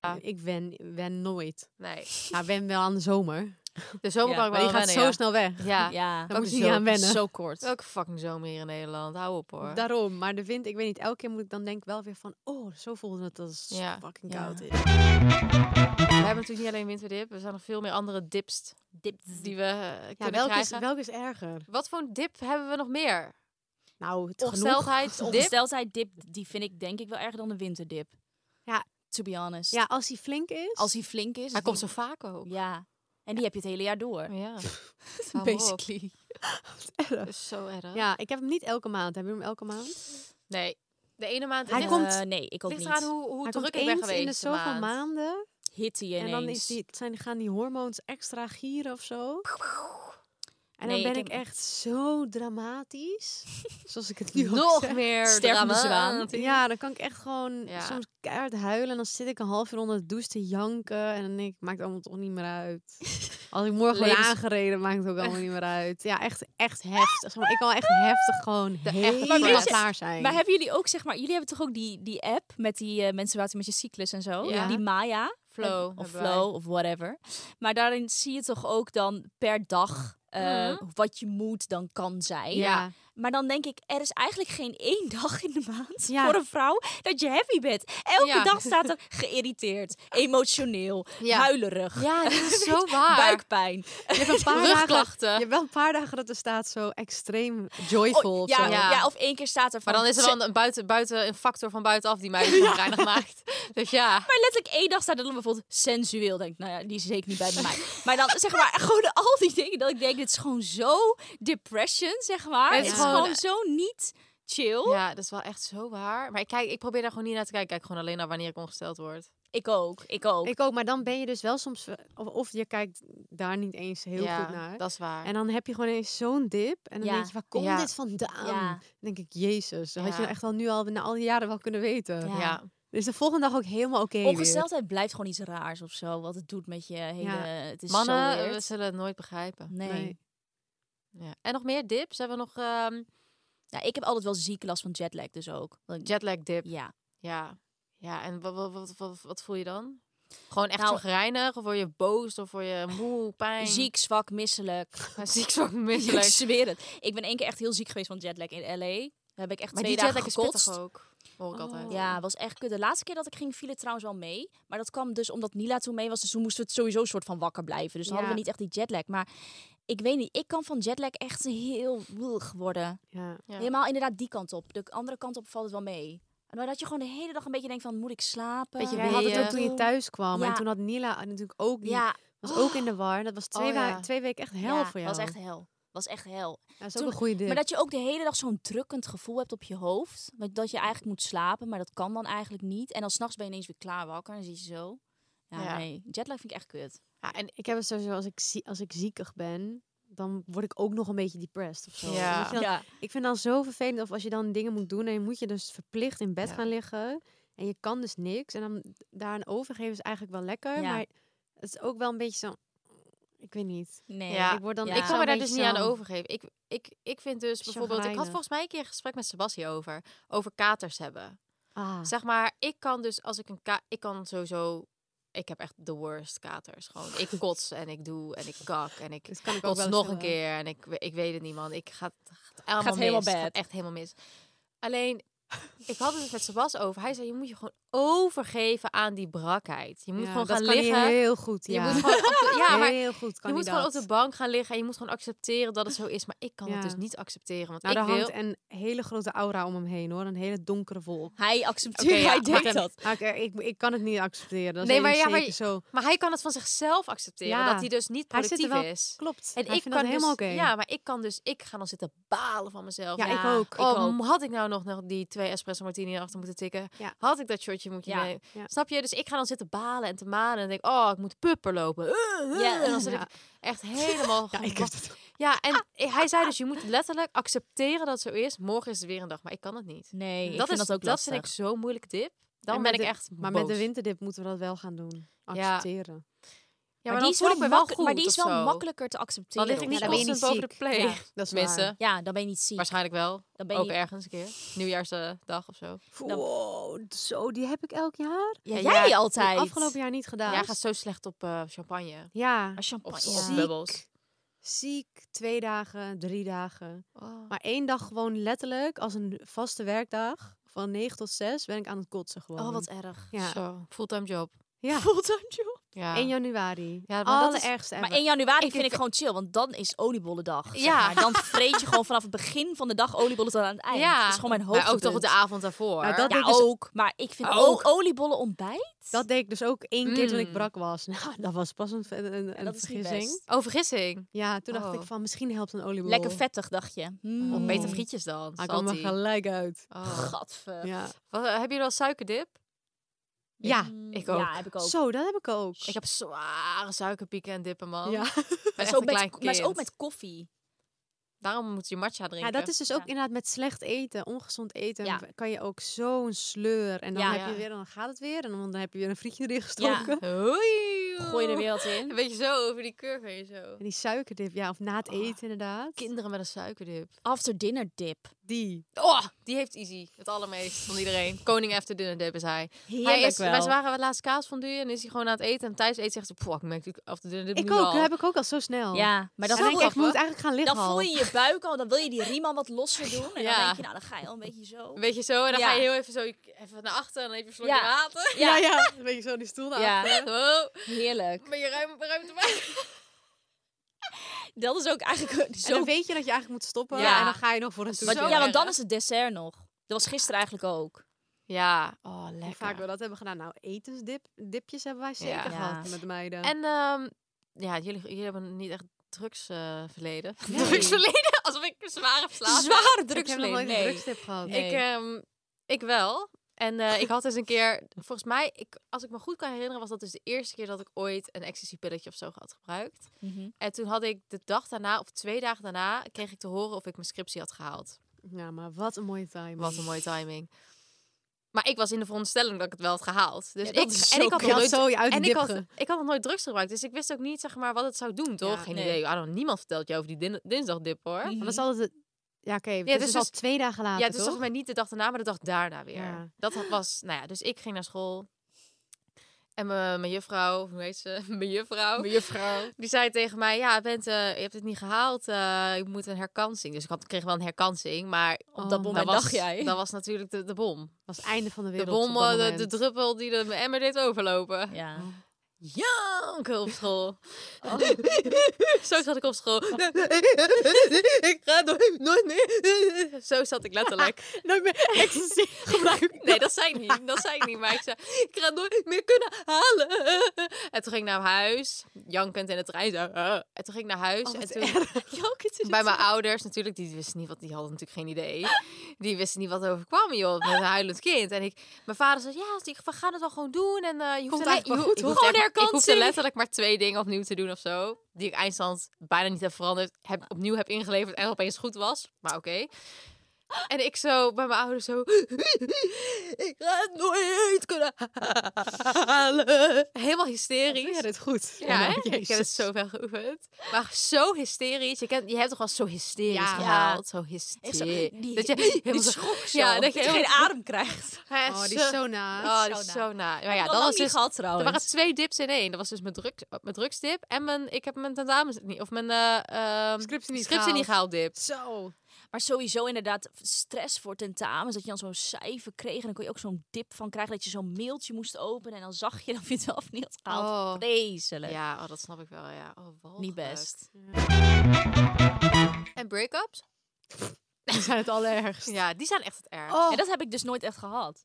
[SPEAKER 1] Ja.
[SPEAKER 3] Ik wen, wen nooit.
[SPEAKER 1] Nee.
[SPEAKER 3] Nou, wen wel aan de zomer.
[SPEAKER 1] De zomer
[SPEAKER 2] Ja,
[SPEAKER 1] kan ik
[SPEAKER 3] Maar
[SPEAKER 1] wel
[SPEAKER 3] die gaat
[SPEAKER 1] wennen,
[SPEAKER 3] zo
[SPEAKER 1] ja.
[SPEAKER 3] snel weg.
[SPEAKER 1] Ja.
[SPEAKER 2] Ja.
[SPEAKER 3] Daar moet je
[SPEAKER 1] zo-
[SPEAKER 3] niet aan wennen.
[SPEAKER 2] Zo kort.
[SPEAKER 1] Welke fucking zomer hier in Nederland. Hou op, hoor.
[SPEAKER 3] Daarom, maar de wind, ik weet niet, elke keer moet ik dan denk ik wel weer van, oh, zo voelde het als het
[SPEAKER 1] Ja,
[SPEAKER 3] fucking
[SPEAKER 1] ja.
[SPEAKER 3] koud is.
[SPEAKER 1] We hebben natuurlijk niet alleen winterdip. Er zijn nog veel meer andere dips die we eh,
[SPEAKER 3] Ja,
[SPEAKER 1] kunnen
[SPEAKER 3] welke is,
[SPEAKER 1] krijgen.
[SPEAKER 3] welke is erger?
[SPEAKER 1] Wat voor een dip hebben we nog meer?
[SPEAKER 3] Nou, het genoeg.
[SPEAKER 1] Ongesteldheid, dip.
[SPEAKER 2] Ongesteldheid dip, die vind ik denk ik wel erger dan de winterdip. to be honest.
[SPEAKER 3] Ja, als hij flink is.
[SPEAKER 2] Als hij flink is.
[SPEAKER 1] Hij
[SPEAKER 2] die-
[SPEAKER 1] komt zo vaak ook.
[SPEAKER 2] Ja. En die heb je het hele jaar door.
[SPEAKER 1] Ja, hou op.
[SPEAKER 2] Basically.
[SPEAKER 1] dat is zo erg.
[SPEAKER 3] Ja, ik heb hem niet elke maand. Hebben jullie hem elke maand?
[SPEAKER 1] Nee, de ene maand...
[SPEAKER 3] Hij
[SPEAKER 1] ligt-
[SPEAKER 3] komt-
[SPEAKER 2] Eh, nee, ik ook
[SPEAKER 1] ligt
[SPEAKER 2] niet.
[SPEAKER 1] eraan hoe, hoe
[SPEAKER 3] Hij
[SPEAKER 1] druk
[SPEAKER 3] komt
[SPEAKER 1] ik ben
[SPEAKER 3] eens
[SPEAKER 1] geweest
[SPEAKER 3] in de zoveel
[SPEAKER 1] maand.
[SPEAKER 3] maanden.
[SPEAKER 2] Hitte je
[SPEAKER 3] En
[SPEAKER 2] ineens.
[SPEAKER 3] dan is die, zijn, gaan die hormoons extra gieren of zo. En
[SPEAKER 2] Nee, ik
[SPEAKER 3] dan ben
[SPEAKER 2] heb-
[SPEAKER 3] ik echt zo dramatisch. Zoals ik het nu ook zeg.
[SPEAKER 1] Nog meer
[SPEAKER 2] Stervende zwaan.
[SPEAKER 1] dramatisch.
[SPEAKER 3] Ja, dan kan ik echt gewoon
[SPEAKER 1] Ja.
[SPEAKER 3] soms keihard huilen. En dan zit ik een half uur onder de douche te janken. En dan denk ik, maakt allemaal toch niet meer uit. Als ik morgen word
[SPEAKER 1] Levens-
[SPEAKER 3] aangereden, maakt het ook allemaal niet meer uit. Ja, echt, echt heftig. Zeg maar, ik kan echt heftig gewoon
[SPEAKER 1] De echte
[SPEAKER 3] helemaal
[SPEAKER 2] stress.
[SPEAKER 3] klaar zijn.
[SPEAKER 2] Maar hebben jullie ook, zeg maar, jullie hebben toch ook die, die app met die eh, menstruatie met je cyclus en zo?
[SPEAKER 1] Ja.
[SPEAKER 2] Die Maya.
[SPEAKER 1] Flow.
[SPEAKER 2] Of
[SPEAKER 1] hebben wij.
[SPEAKER 2] Flow of whatever. Maar daarin zie je toch ook dan per dag eh,
[SPEAKER 1] Mhm.
[SPEAKER 2] wat je moed dan kan zijn.
[SPEAKER 3] ja.
[SPEAKER 2] Maar dan denk ik, er is eigenlijk geen één dag in de maand
[SPEAKER 3] Ja.
[SPEAKER 2] voor een vrouw dat je happy bent. Elke
[SPEAKER 1] Ja.
[SPEAKER 2] dag staat er geïrriteerd, emotioneel,
[SPEAKER 1] Ja.
[SPEAKER 2] huilerig,
[SPEAKER 1] Ja, dit is zo waar.
[SPEAKER 2] buikpijn.
[SPEAKER 3] Je hebt een paar dagen...
[SPEAKER 1] Rugklachten.
[SPEAKER 3] Je hebt wel een paar dagen dat er staat zo extreem joyful.
[SPEAKER 2] Oh,
[SPEAKER 3] of
[SPEAKER 2] ja,
[SPEAKER 3] zo.
[SPEAKER 2] ja.
[SPEAKER 1] Ja.
[SPEAKER 2] of één keer staat er van...
[SPEAKER 1] Maar dan is er
[SPEAKER 2] ze-
[SPEAKER 1] wel een, buiten, buiten, een factor van buitenaf die mij onreinig maakt. Dus ja.
[SPEAKER 2] Maar letterlijk één dag staat er dan bijvoorbeeld sensueel. Denk, ik, nou ja, die is zeker niet bij mij. maar dan zeg maar gewoon al die dingen dat ik denk, dit is gewoon zo depression, zeg maar. Het is gewoon zo niet chill.
[SPEAKER 1] ja, dat is wel echt zo waar. Maar ik, kijk, ik probeer daar gewoon niet naar te kijken. Ik kijk gewoon alleen naar wanneer ik ongesteld word.
[SPEAKER 2] Ik ook, ik ook.
[SPEAKER 3] Ik ook, maar dan ben je dus wel soms... Of, of je kijkt daar niet eens heel
[SPEAKER 1] ja,
[SPEAKER 3] goed naar.
[SPEAKER 1] dat is waar.
[SPEAKER 3] En dan heb je gewoon eens zo'n dip. En dan
[SPEAKER 2] Ja.
[SPEAKER 3] denk je, waar komt
[SPEAKER 1] Ja.
[SPEAKER 3] dit vandaan?
[SPEAKER 2] Ja.
[SPEAKER 3] Dan denk ik, jezus. Dat had je
[SPEAKER 1] Ja.
[SPEAKER 3] nou echt al nu al, na al die jaren wel kunnen weten.
[SPEAKER 2] Ja.
[SPEAKER 1] ja.
[SPEAKER 3] Dus de volgende dag ook helemaal oké weer.
[SPEAKER 2] Ongesteldheid blijft gewoon iets raars of zo. Wat het doet met je hele...
[SPEAKER 3] Ja.
[SPEAKER 2] Het is zo
[SPEAKER 1] Mannen,
[SPEAKER 2] weird.
[SPEAKER 1] we zullen het nooit begrijpen.
[SPEAKER 2] Nee.
[SPEAKER 3] Nee.
[SPEAKER 1] Ja. En nog meer dips? Hebben we nog ehm,
[SPEAKER 2] Ja, ik heb altijd wel zieke last van jetlag dus ook. Dat ik-
[SPEAKER 1] jetlag dip?
[SPEAKER 2] Ja.
[SPEAKER 1] Ja. Ja, en wat, wat, wat, wat, wat voel je dan? Gewoon echt
[SPEAKER 2] Nou-
[SPEAKER 1] nou, Of word je boos? Of word je moe, pijn?
[SPEAKER 2] Ziek, zwak, misselijk.
[SPEAKER 1] Ja, ziek, zwak,
[SPEAKER 2] ik
[SPEAKER 1] misselijk.
[SPEAKER 2] zweer het. Ik ben één keer echt heel ziek geweest van jetlag in L.A. Daar heb ik echt
[SPEAKER 1] Maar
[SPEAKER 2] twee
[SPEAKER 1] die
[SPEAKER 2] dagen
[SPEAKER 1] jetlag is
[SPEAKER 2] gekotst.
[SPEAKER 1] pittig ook. Hoor ik altijd.
[SPEAKER 3] Oh.
[SPEAKER 2] Oh. Ja, was echt kut. De laatste keer dat ik ging, viel het trouwens wel mee. Maar dat kwam dus omdat Nila toen mee was. Dus toen moesten we het sowieso soort van wakker blijven. Dus dan hadden we niet echt die jetlag. Maar ik weet niet, ik kan van jetlag echt heel wilg worden.
[SPEAKER 3] Ja.
[SPEAKER 1] Ja.
[SPEAKER 2] Helemaal inderdaad die kant op. De andere kant op valt het wel mee. Maar dat je gewoon de hele dag een beetje denkt van, moet ik slapen?
[SPEAKER 1] Beetje
[SPEAKER 3] Jij had het
[SPEAKER 1] weeën.
[SPEAKER 3] ook toen je thuis kwam.
[SPEAKER 2] Ja.
[SPEAKER 3] En toen had Nila natuurlijk ook... Die,
[SPEAKER 2] Ja,
[SPEAKER 3] was ook in de war. Dat was twee,
[SPEAKER 1] Oh,
[SPEAKER 3] wa-
[SPEAKER 1] ja.
[SPEAKER 3] twee weken echt hel
[SPEAKER 2] ja,
[SPEAKER 3] voor jou.
[SPEAKER 2] was echt hel. Was echt hel.
[SPEAKER 3] Ja, dat is
[SPEAKER 2] toen-
[SPEAKER 3] ook een goede dip.
[SPEAKER 2] Maar dat je ook de hele dag zo'n drukkend gevoel hebt op je hoofd. want Dat je eigenlijk moet slapen, maar dat kan dan eigenlijk niet. En dan s'nachts ben je ineens weer klaar wakker en dan zie je zo. Ja,
[SPEAKER 1] Ja.
[SPEAKER 2] nee. Jetlag vind ik echt kut.
[SPEAKER 3] Ja, en ik heb het sowieso, als ik, zie- als ik ziekig ben... Dan word ik ook nog een beetje depressed of zo.
[SPEAKER 1] Ja.
[SPEAKER 3] Weet je, dan-
[SPEAKER 2] Ja.
[SPEAKER 3] Ik vind dan zo vervelend of als je dan dingen moet doen en je moet je dus verplicht in bed
[SPEAKER 1] Ja.
[SPEAKER 3] gaan liggen en je kan dus niks en dan daaraan overgeven is eigenlijk wel lekker,
[SPEAKER 2] Ja.
[SPEAKER 3] maar het is ook wel een beetje zo, ik weet niet.
[SPEAKER 2] Nee.
[SPEAKER 1] Ja.
[SPEAKER 3] ik word dan
[SPEAKER 2] Ja.
[SPEAKER 3] echt
[SPEAKER 1] Ik kan me
[SPEAKER 3] zo'n
[SPEAKER 1] daar dus niet
[SPEAKER 3] beetje
[SPEAKER 1] aan
[SPEAKER 3] zo'n-
[SPEAKER 1] overgeven. Ik, ik, ik vind dus bijvoorbeeld... Ik had
[SPEAKER 3] Chagrijnig.
[SPEAKER 1] volgens mij een keer een gesprek met Sebastian over. Over katers hebben.
[SPEAKER 3] Ah,
[SPEAKER 1] Zeg maar, ik kan dus als ik een ka Ik kan sowieso... Ik heb echt de worst katers. Gewoon, ik kots en ik doe en ik kak en ik
[SPEAKER 3] dus kan ik ook
[SPEAKER 1] kots
[SPEAKER 3] wel eens
[SPEAKER 1] nog een
[SPEAKER 3] hebben.
[SPEAKER 1] keer. En ik, we- ik weet het niet, man. Ik ga, het gaat helemaal
[SPEAKER 2] Gaat
[SPEAKER 1] mis.
[SPEAKER 2] helemaal
[SPEAKER 1] Het gaat
[SPEAKER 2] bad.
[SPEAKER 1] echt helemaal mis. Alleen, ik had het dus met Sebas over. Hij zei, je moet je gewoon overgeven aan die brakheid. Je moet
[SPEAKER 3] Ja,
[SPEAKER 1] gewoon
[SPEAKER 3] dat
[SPEAKER 1] gaan
[SPEAKER 3] kan hij
[SPEAKER 1] liggen.
[SPEAKER 3] heel goed.
[SPEAKER 1] Je
[SPEAKER 3] Ja,
[SPEAKER 1] moet gewoon op de- ja, maar
[SPEAKER 3] heel goed kan
[SPEAKER 1] je
[SPEAKER 3] hij
[SPEAKER 1] moet gewoon op
[SPEAKER 3] dat.
[SPEAKER 1] de bank gaan liggen en je moet gewoon accepteren dat het zo is. Maar ik kan het
[SPEAKER 3] Ja.
[SPEAKER 1] dus niet accepteren, want
[SPEAKER 3] Nou,
[SPEAKER 1] ik
[SPEAKER 3] daar
[SPEAKER 1] wil...
[SPEAKER 3] hangt een hele grote aura om hem heen hoor, een hele donkere wolk.
[SPEAKER 2] Hij accepteert,
[SPEAKER 1] Oké, ja,
[SPEAKER 2] hij denkt
[SPEAKER 1] maar-
[SPEAKER 2] dat.
[SPEAKER 3] Ah, ik, ik, ik kan het niet accepteren. Dat
[SPEAKER 1] Nee,
[SPEAKER 3] nee,
[SPEAKER 1] maar
[SPEAKER 3] maar
[SPEAKER 1] ja, maar
[SPEAKER 3] zeker zo.
[SPEAKER 1] Maar hij kan het van zichzelf accepteren,
[SPEAKER 3] Ja.
[SPEAKER 1] dat hij dus niet
[SPEAKER 3] Hij zit er
[SPEAKER 1] productief
[SPEAKER 3] wel-
[SPEAKER 1] is.
[SPEAKER 3] Klopt.
[SPEAKER 1] En ik kan
[SPEAKER 3] vind dat helemaal oké.
[SPEAKER 1] dus, Ja, maar ik kan dus... Ik ga dan zitten balen van mezelf.
[SPEAKER 3] Ja,
[SPEAKER 1] En
[SPEAKER 3] ik ook.
[SPEAKER 1] oh,
[SPEAKER 3] ik ook.
[SPEAKER 1] had ik nou nog nog die twee espresso martini achter moeten tikken?
[SPEAKER 3] Ja.
[SPEAKER 1] Had ik dat shotje moeten
[SPEAKER 2] Ja.
[SPEAKER 1] nemen?
[SPEAKER 3] Ja.
[SPEAKER 1] Snap je? Dus ik ga dan zitten balen en te malen en denk, oh, ik moet pupper lopen.
[SPEAKER 2] Ja.
[SPEAKER 1] ja. En dan zit ik echt helemaal...
[SPEAKER 3] Ja, ik heb dat ook.
[SPEAKER 1] Ja,
[SPEAKER 2] Ah,
[SPEAKER 1] en hij zei dus, je moet letterlijk accepteren dat het zo is. Morgen is het weer een dag, maar ik kan het niet.
[SPEAKER 2] Nee, ik
[SPEAKER 1] dat
[SPEAKER 2] vind
[SPEAKER 1] is,
[SPEAKER 2] dat ook
[SPEAKER 1] dat
[SPEAKER 2] lastig.
[SPEAKER 1] vind ik zo'n moeilijk tip. Dan ben
[SPEAKER 3] En met
[SPEAKER 1] ik
[SPEAKER 3] de-
[SPEAKER 1] echt
[SPEAKER 3] Maar met
[SPEAKER 1] boos.
[SPEAKER 3] de winterdip moeten we dat wel gaan doen.
[SPEAKER 1] Ja.
[SPEAKER 3] Accepteren.
[SPEAKER 1] Ja,
[SPEAKER 2] maar,
[SPEAKER 1] dan
[SPEAKER 2] die is
[SPEAKER 1] voel
[SPEAKER 2] wel
[SPEAKER 1] ik me wel
[SPEAKER 2] makkelijk-
[SPEAKER 1] goed
[SPEAKER 2] maar die is
[SPEAKER 1] of
[SPEAKER 2] wel
[SPEAKER 1] zo.
[SPEAKER 2] makkelijk te
[SPEAKER 1] Dan
[SPEAKER 2] accepteren.
[SPEAKER 1] lig ik
[SPEAKER 2] of
[SPEAKER 1] niet
[SPEAKER 2] zo.
[SPEAKER 3] dan ben je
[SPEAKER 1] constant
[SPEAKER 3] niet
[SPEAKER 1] boven de
[SPEAKER 3] ziek.
[SPEAKER 1] play.
[SPEAKER 2] Ja.
[SPEAKER 3] Dat is
[SPEAKER 1] Tenminste,
[SPEAKER 3] waar.
[SPEAKER 2] Ja, dan ben je niet ziek.
[SPEAKER 1] waarschijnlijk wel.
[SPEAKER 2] Dan ben je
[SPEAKER 1] Ook
[SPEAKER 2] niet-
[SPEAKER 1] ergens een keer. Nieuwjaarsdag of zo.
[SPEAKER 2] Dan-
[SPEAKER 3] Wow, zo, die heb ik elk jaar.
[SPEAKER 2] Ja,
[SPEAKER 1] Ja,
[SPEAKER 2] jij
[SPEAKER 1] ja,
[SPEAKER 2] altijd.
[SPEAKER 3] Afgelopen jaar niet gedaan.
[SPEAKER 1] Ja, hij gaat zo slecht op eh, champagne.
[SPEAKER 3] Ja,
[SPEAKER 2] Als champagne.
[SPEAKER 1] Of- of-
[SPEAKER 2] Ja.
[SPEAKER 1] bubbels.
[SPEAKER 3] ziek, twee dagen, drie dagen.
[SPEAKER 1] Oh.
[SPEAKER 3] Maar één dag gewoon letterlijk, als een vaste werkdag, van 9 tot 6 ben ik aan het kotsen gewoon.
[SPEAKER 2] Oh, wat erg.
[SPEAKER 3] Ja,
[SPEAKER 1] Zo, fulltime job.
[SPEAKER 3] Ja,
[SPEAKER 2] Fulltime job.
[SPEAKER 1] Ja.
[SPEAKER 3] 1 januari.
[SPEAKER 1] Ja,
[SPEAKER 3] Ja,
[SPEAKER 1] want dat is-
[SPEAKER 3] ergste
[SPEAKER 2] Maar
[SPEAKER 3] ever.
[SPEAKER 2] 1 januari
[SPEAKER 1] Ik
[SPEAKER 2] vind ik
[SPEAKER 1] vind-
[SPEAKER 2] gewoon chill, want dan is oliebollendag. zeg
[SPEAKER 1] Ja.
[SPEAKER 2] maar. Dan vreet je gewoon vanaf het begin van de dag oliebollen tot aan het eind.
[SPEAKER 1] Ja.
[SPEAKER 2] Dat is gewoon mijn
[SPEAKER 1] Maar ook
[SPEAKER 2] hoogtepunt.
[SPEAKER 1] toch op de avond daarvoor.
[SPEAKER 3] Nou, dat
[SPEAKER 2] ja,
[SPEAKER 3] deed dus-
[SPEAKER 2] ook. Maar ik vind
[SPEAKER 1] Ook.
[SPEAKER 2] ook oliebollen ontbijt.
[SPEAKER 3] Dat deed ik dus ook één keer toen ik
[SPEAKER 1] Mm.
[SPEAKER 3] brak was. Nou, dat was pas een, een, een,
[SPEAKER 2] En
[SPEAKER 3] een
[SPEAKER 2] dat is niet
[SPEAKER 3] vergissing.
[SPEAKER 2] best.
[SPEAKER 1] Oh, vergissing.
[SPEAKER 3] Ja, toen dacht
[SPEAKER 1] Oh.
[SPEAKER 3] ik van misschien helpt een oliebol.
[SPEAKER 2] Lekker vettig, dacht je. Mm.
[SPEAKER 1] Of beter
[SPEAKER 3] Oh.
[SPEAKER 1] frietjes dan.
[SPEAKER 3] Hij kwam er
[SPEAKER 1] salty.
[SPEAKER 3] gelijk uit.
[SPEAKER 1] Oh.
[SPEAKER 2] Gadver.
[SPEAKER 3] Ja.
[SPEAKER 1] Wat, eh, hebben jullie wel suikerdip?
[SPEAKER 3] Ja,
[SPEAKER 2] Mm,
[SPEAKER 1] ik ook.
[SPEAKER 2] Ja, heb ik ook.
[SPEAKER 3] Zo, dat heb ik ook.
[SPEAKER 1] Ik heb zware suikerpieken en dippen, man.
[SPEAKER 3] ja.
[SPEAKER 1] Ik ben
[SPEAKER 2] maar,
[SPEAKER 1] echt
[SPEAKER 2] is ook
[SPEAKER 1] een klein
[SPEAKER 2] met, maar is ook
[SPEAKER 1] kind.
[SPEAKER 2] met koffie.
[SPEAKER 1] Daarom moet je matcha drinken.
[SPEAKER 3] ja, dat is dus ook
[SPEAKER 2] Ja.
[SPEAKER 3] inderdaad met slecht eten, ongezond eten,
[SPEAKER 2] Ja.
[SPEAKER 3] kan je ook zo'n sleur. En dan,
[SPEAKER 2] Ja.
[SPEAKER 3] heb
[SPEAKER 1] Ja.
[SPEAKER 3] je weer, dan gaat het weer en dan, dan heb je weer een frietje erin gestoken.
[SPEAKER 1] Hoi.
[SPEAKER 2] Gooi de wereld
[SPEAKER 1] Een
[SPEAKER 2] in.
[SPEAKER 1] beetje zo over die curve heen zo.
[SPEAKER 3] En die suikerdip, ja, of na het
[SPEAKER 1] Oh.
[SPEAKER 3] eten inderdaad.
[SPEAKER 1] Kinderen met een suikerdip.
[SPEAKER 2] After dinner dip.
[SPEAKER 3] Die.
[SPEAKER 1] Oh, die heeft Easy. Het allermeest van iedereen. Koning after dinner dip is hij.
[SPEAKER 2] Heerlijk
[SPEAKER 1] hij is,
[SPEAKER 2] wel.
[SPEAKER 1] Wij waren wat laatst kaas fondue en is hij gewoon aan het eten. En tijdens eten zegt ze, poh, ik merk die after dinner dip
[SPEAKER 3] Ik
[SPEAKER 1] nu
[SPEAKER 3] ook,
[SPEAKER 1] al.
[SPEAKER 3] dat heb ik ook al zo snel.
[SPEAKER 2] Ja, maar dat
[SPEAKER 3] dan denk ik, echt,
[SPEAKER 1] grappig.
[SPEAKER 3] moet het eigenlijk gaan liggen
[SPEAKER 2] dan voel
[SPEAKER 3] al.
[SPEAKER 2] je je buik al, dan wil je die riem al wat losser doen. En
[SPEAKER 1] Ja.
[SPEAKER 2] dan denk je, nou dan ga je al een beetje zo.
[SPEAKER 1] Een beetje zo. En dan
[SPEAKER 2] Ja.
[SPEAKER 1] ga je heel even zo even naar achter en dan even een slokje
[SPEAKER 2] Ja.
[SPEAKER 1] water.
[SPEAKER 3] Ja, ja. Een beetje zo die stoel naar
[SPEAKER 2] Ja.
[SPEAKER 3] achteren.
[SPEAKER 1] Oh,
[SPEAKER 2] Heerlijk.
[SPEAKER 1] ben je ruim, ruimte bij?
[SPEAKER 2] Dat is ook eigenlijk
[SPEAKER 3] En
[SPEAKER 2] zo...
[SPEAKER 3] dan weet je dat je eigenlijk moet stoppen.
[SPEAKER 1] Ja.
[SPEAKER 3] En dan ga je nog voor een
[SPEAKER 2] Want-
[SPEAKER 3] toetje.
[SPEAKER 1] zo
[SPEAKER 2] ja, want dan
[SPEAKER 1] erg.
[SPEAKER 2] is het dessert nog. Dat was gisteren eigenlijk ook.
[SPEAKER 1] Ja. Oh,
[SPEAKER 3] Hoe
[SPEAKER 1] lekker.
[SPEAKER 3] vaak we dat hebben gedaan. Nou, etensdipjes hebben wij zeker
[SPEAKER 1] Ja.
[SPEAKER 3] gehad
[SPEAKER 2] Ja.
[SPEAKER 3] met de meiden.
[SPEAKER 1] En ehm, ja, jullie, jullie hebben niet echt drugsverleden. verleden.
[SPEAKER 3] Nee.
[SPEAKER 1] Drugsverleden? Alsof ik zwaar verslaafd ben.
[SPEAKER 2] Zware
[SPEAKER 3] ik heb nog
[SPEAKER 2] drugsverleden.
[SPEAKER 3] nooit een
[SPEAKER 2] Nee.
[SPEAKER 3] drugstip gehad.
[SPEAKER 2] Nee.
[SPEAKER 1] Ik, ehm, ik wel. En eh, ik had eens een keer, volgens mij, ik, als ik me goed kan herinneren, was dat dus de eerste keer dat ik ooit een ecstasy-pilletje of zo had gebruikt.
[SPEAKER 2] Mhm.
[SPEAKER 1] En toen had ik de dag daarna, of twee dagen daarna, kreeg ik te horen of ik mijn scriptie had gehaald.
[SPEAKER 3] Ja, maar wat een mooie time.
[SPEAKER 1] Wat een mooie timing. Maar ik was in de veronderstelling dat ik het wel had gehaald. Dus
[SPEAKER 2] Ja, dat
[SPEAKER 1] ik,
[SPEAKER 2] is
[SPEAKER 1] en
[SPEAKER 2] zo
[SPEAKER 1] ik had
[SPEAKER 3] Je
[SPEAKER 1] nog
[SPEAKER 3] had
[SPEAKER 1] nooit
[SPEAKER 3] zo je uit de
[SPEAKER 1] en
[SPEAKER 3] dip
[SPEAKER 1] ik had,
[SPEAKER 3] ge-
[SPEAKER 1] ik had nog nooit drugs gebruikt, dus ik wist ook niet zeg maar, wat het zou doen, toch? Geen
[SPEAKER 2] nee.
[SPEAKER 1] idee. I don't- niemand vertelt je over die din- dinsdagdip, hoor.
[SPEAKER 2] Mhm.
[SPEAKER 3] Maar dat is altijd... het- Ja, oké.
[SPEAKER 1] het
[SPEAKER 3] het is
[SPEAKER 1] is
[SPEAKER 3] dus al
[SPEAKER 1] dus-
[SPEAKER 3] twee dagen later,
[SPEAKER 1] ja, dus
[SPEAKER 3] toch?
[SPEAKER 1] volgens mij niet de dag daarna, maar de dag daarna weer.
[SPEAKER 3] Ja.
[SPEAKER 1] Dat had- was, nou ja, dus ik ging naar school. En mijn mijn juffrouw, hoe heet ze? Mijn juffrouw. Die zei tegen mij, ja, bent, eh, je hebt het niet gehaald, eh, je moet een herkansing. Dus ik had, kreeg wel een herkansing, maar
[SPEAKER 3] Op dat moment
[SPEAKER 1] was,
[SPEAKER 2] dacht jij.
[SPEAKER 1] Dat was natuurlijk de, de bom.
[SPEAKER 3] was het einde van de
[SPEAKER 1] De
[SPEAKER 3] wereld
[SPEAKER 1] bom,
[SPEAKER 3] op dat
[SPEAKER 1] eh, de, de
[SPEAKER 3] moment.
[SPEAKER 1] druppel die de emmer deed overlopen.
[SPEAKER 2] Ja.
[SPEAKER 1] janken op school. Zo zat ik op school. ik ga nooit, nooit meer. Zo zat ik letterlijk.
[SPEAKER 3] Nooit meer ecstasy gebruikt.
[SPEAKER 1] Nee, dat zei ik niet. Dat zei ik niet. Maar ik zei, ik ga het nooit meer kunnen halen. En toen ging ik naar huis. Jankend in de trein. Zo. "Ah." En toen ging ik naar huis. en toen bij mijn ouders natuurlijk. Die wisten niet wat. Die hadden natuurlijk geen idee. Die wisten niet wat er overkwam, joh. Met een huilend kind. En ik, mijn vader zei, ja, ik- we gaan het wel gewoon doen. En eh, je hoeft
[SPEAKER 3] Komt
[SPEAKER 1] alleen-
[SPEAKER 3] eigenlijk wel
[SPEAKER 1] je ho-
[SPEAKER 3] goed,
[SPEAKER 1] je
[SPEAKER 3] hoor.
[SPEAKER 1] hoeft
[SPEAKER 3] Gewoon
[SPEAKER 1] echt- Ik hoefde
[SPEAKER 3] herkansing.
[SPEAKER 1] letterlijk maar twee dingen opnieuw te doen of zo. Die ik eindstand bijna niet heb veranderd. Heb, opnieuw heb ingeleverd en opeens goed was. Maar oké. En ik zo bij mijn ouders zo... Ik ga het nooit kunnen halen. Helemaal hysterisch.
[SPEAKER 3] Ja, dit goed.
[SPEAKER 1] Ja, hè?
[SPEAKER 3] nou,
[SPEAKER 1] ik heb het
[SPEAKER 3] jezus.
[SPEAKER 1] zoveel geoefend. Maar zo hysterisch. Je, kent, je hebt toch wel zo hysterisch
[SPEAKER 3] Ja.
[SPEAKER 1] gehaald? Zo
[SPEAKER 2] Heeft zo-
[SPEAKER 1] hysterisch.
[SPEAKER 2] die-
[SPEAKER 1] dat je
[SPEAKER 2] die-
[SPEAKER 1] helemaal
[SPEAKER 2] die
[SPEAKER 1] zo-
[SPEAKER 2] schok zo,
[SPEAKER 1] Ja, dat
[SPEAKER 2] dat
[SPEAKER 1] je
[SPEAKER 2] je
[SPEAKER 1] helemaal
[SPEAKER 2] geen
[SPEAKER 1] zo-
[SPEAKER 2] adem krijgt.
[SPEAKER 1] Ja,
[SPEAKER 3] Oh, die is zo
[SPEAKER 1] oh,
[SPEAKER 3] na.
[SPEAKER 1] die is
[SPEAKER 2] zo
[SPEAKER 1] zo na. Maar ja,
[SPEAKER 2] Ja,
[SPEAKER 1] dat
[SPEAKER 2] dat
[SPEAKER 1] was
[SPEAKER 2] is niet
[SPEAKER 1] dus...
[SPEAKER 2] gehad
[SPEAKER 1] Er
[SPEAKER 2] trouwens.
[SPEAKER 1] waren twee dips in één. Dat was dus mijn, druk, mijn drugsdip en mijn... Ik heb mijn tentamens niet... Of mijn eh, ehm,
[SPEAKER 3] Scriptie niet
[SPEAKER 1] scriptie niet gehaald dip.
[SPEAKER 3] Zo.
[SPEAKER 2] Maar sowieso inderdaad stress voor tentamens. Dat je dan zo'n cijfer kreeg. En dan kon je ook zo'n dip van krijgen. Dat je zo'n mailtje moest openen. En dan zag je dat je het wel of niet had gehaald.
[SPEAKER 1] Oh.
[SPEAKER 2] Vreselijk.
[SPEAKER 1] Ja, oh, dat snap ik wel. Ja. Oh, walgelijk.
[SPEAKER 2] niet best.
[SPEAKER 1] En break-ups?
[SPEAKER 3] Die zijn het allerergst.
[SPEAKER 1] Ja, die zijn echt het erg.
[SPEAKER 2] En dat heb ik dus nooit echt gehad.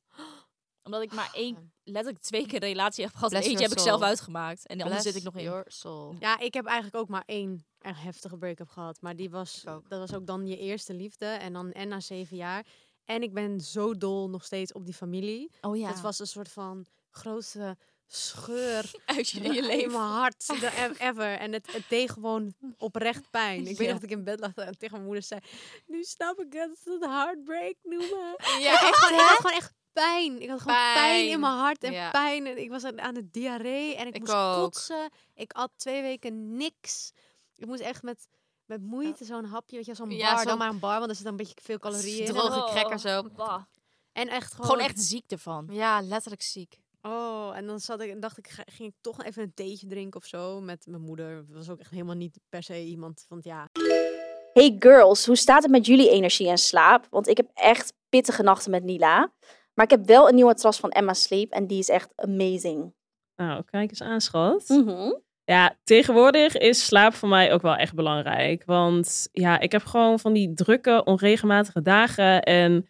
[SPEAKER 2] Omdat ik maar één, letterlijk twee keer een relatie heb gehad. En
[SPEAKER 1] Bless
[SPEAKER 2] eentje
[SPEAKER 1] your
[SPEAKER 2] heb ik
[SPEAKER 1] soul.
[SPEAKER 2] zelf uitgemaakt. En de andere
[SPEAKER 1] Bless
[SPEAKER 2] zit ik nog in.
[SPEAKER 1] your soul.
[SPEAKER 3] Ja, ik heb eigenlijk ook maar één erg heftige break-up gehad. Maar die was,
[SPEAKER 1] Ik ook.
[SPEAKER 3] dat was ook dan je eerste liefde. En dan en na zeven jaar. En ik ben zo dol nog steeds op die familie.
[SPEAKER 2] Oh ja.
[SPEAKER 3] Het was een soort van grootste scheur
[SPEAKER 2] uit je, in je
[SPEAKER 3] in
[SPEAKER 2] leven.
[SPEAKER 3] mijn hart. the ev- e- Ever. En het, het deed gewoon oprecht pijn. Ik weet
[SPEAKER 2] Ja.
[SPEAKER 3] nog dat ik in bed lag en tegen mijn moeder zei... Nu snap ik dat ze het heartbreak noemen.
[SPEAKER 1] Ja,
[SPEAKER 3] echt, gewoon, ik had gewoon echt pijn. Ik had gewoon pijn,
[SPEAKER 1] Pijn.
[SPEAKER 3] in mijn hart en
[SPEAKER 1] Ja.
[SPEAKER 3] pijn. En ik was aan, aan de diarree en ik,
[SPEAKER 1] Ik
[SPEAKER 3] moest
[SPEAKER 1] ook.
[SPEAKER 3] kotsen. Ik at twee weken niks. Ik moest echt met, met moeite zo'n hapje, weet je, wel, zo'n
[SPEAKER 1] Ja,
[SPEAKER 3] bar,
[SPEAKER 1] zo'n-
[SPEAKER 3] dan maar een bar, want er zit een beetje veel calorieën in.
[SPEAKER 1] droge
[SPEAKER 2] Oh.
[SPEAKER 1] cracker zo.
[SPEAKER 2] Bah.
[SPEAKER 3] En echt gewoon,
[SPEAKER 2] Gewoon echt ziek ervan.
[SPEAKER 1] Ja, letterlijk ziek.
[SPEAKER 3] Oh, en dan zat ik en dacht ik, ga- ging ik toch even een theetje drinken of zo met mijn moeder. Dat was ook echt helemaal niet per se iemand van, ja.
[SPEAKER 7] Hey girls, hoe staat het met jullie energie en slaap? Want ik heb echt pittige nachten met Nila. Maar ik heb wel een nieuwe matras van Emma Sleep en die is echt amazing.
[SPEAKER 4] Nou, kijk eens aan, schat.
[SPEAKER 7] Mhm.
[SPEAKER 4] Ja, tegenwoordig is slaap voor mij ook wel echt belangrijk. Want ja, ik heb gewoon van die drukke, onregelmatige dagen. En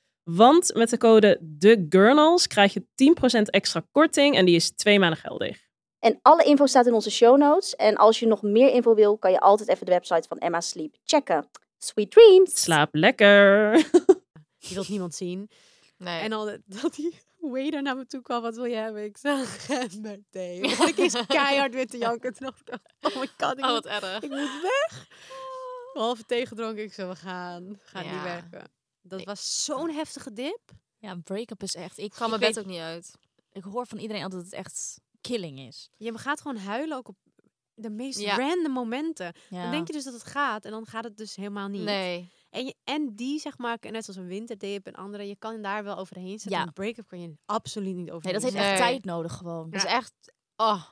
[SPEAKER 4] Want met de code TheGurnals krijg je 10% extra korting en die is twee maanden geldig.
[SPEAKER 7] En alle info staat in onze show notes. En als je nog meer info wil, kan je altijd even de website van Emma Sleep checken. Sweet dreams!
[SPEAKER 4] Slaap lekker.
[SPEAKER 3] Je wilt niemand zien.
[SPEAKER 1] Nee.
[SPEAKER 3] En al dat- dat die waiter naar me toe kwam, wat wil je hebben? Ik zag hem meteen. Want ik is keihard witte janken. Toen dacht ik, oh my god, ik,
[SPEAKER 1] Oh, wat
[SPEAKER 3] moet,
[SPEAKER 1] erg.
[SPEAKER 3] ik moet weg. Halve tegendronken, ik zo, we gaan. Gaat niet
[SPEAKER 1] Ja.
[SPEAKER 3] werken. Dat
[SPEAKER 1] Ik-
[SPEAKER 3] was zo'n heftige dip.
[SPEAKER 2] Ja, break-up is echt... Ik,
[SPEAKER 1] Ik ga
[SPEAKER 2] ik,
[SPEAKER 1] mijn bed
[SPEAKER 2] weet-
[SPEAKER 1] ook niet uit.
[SPEAKER 2] ik hoor van iedereen altijd dat het echt killing is.
[SPEAKER 3] Je gaat gewoon huilen ook op de meest
[SPEAKER 1] Ja.
[SPEAKER 3] random momenten.
[SPEAKER 2] Ja.
[SPEAKER 3] Dan denk je dus dat het gaat en dan gaat het dus helemaal niet.
[SPEAKER 1] Nee.
[SPEAKER 3] En, je, en die, zeg maar, net zoals een winterdip en andere, je kan daar wel overheen zitten.
[SPEAKER 2] Ja.
[SPEAKER 3] Een break-up kan je absoluut niet
[SPEAKER 2] Nee,
[SPEAKER 3] overheen
[SPEAKER 2] dat heeft
[SPEAKER 1] Nee.
[SPEAKER 2] echt tijd nodig gewoon.
[SPEAKER 1] Het is echt... Oh,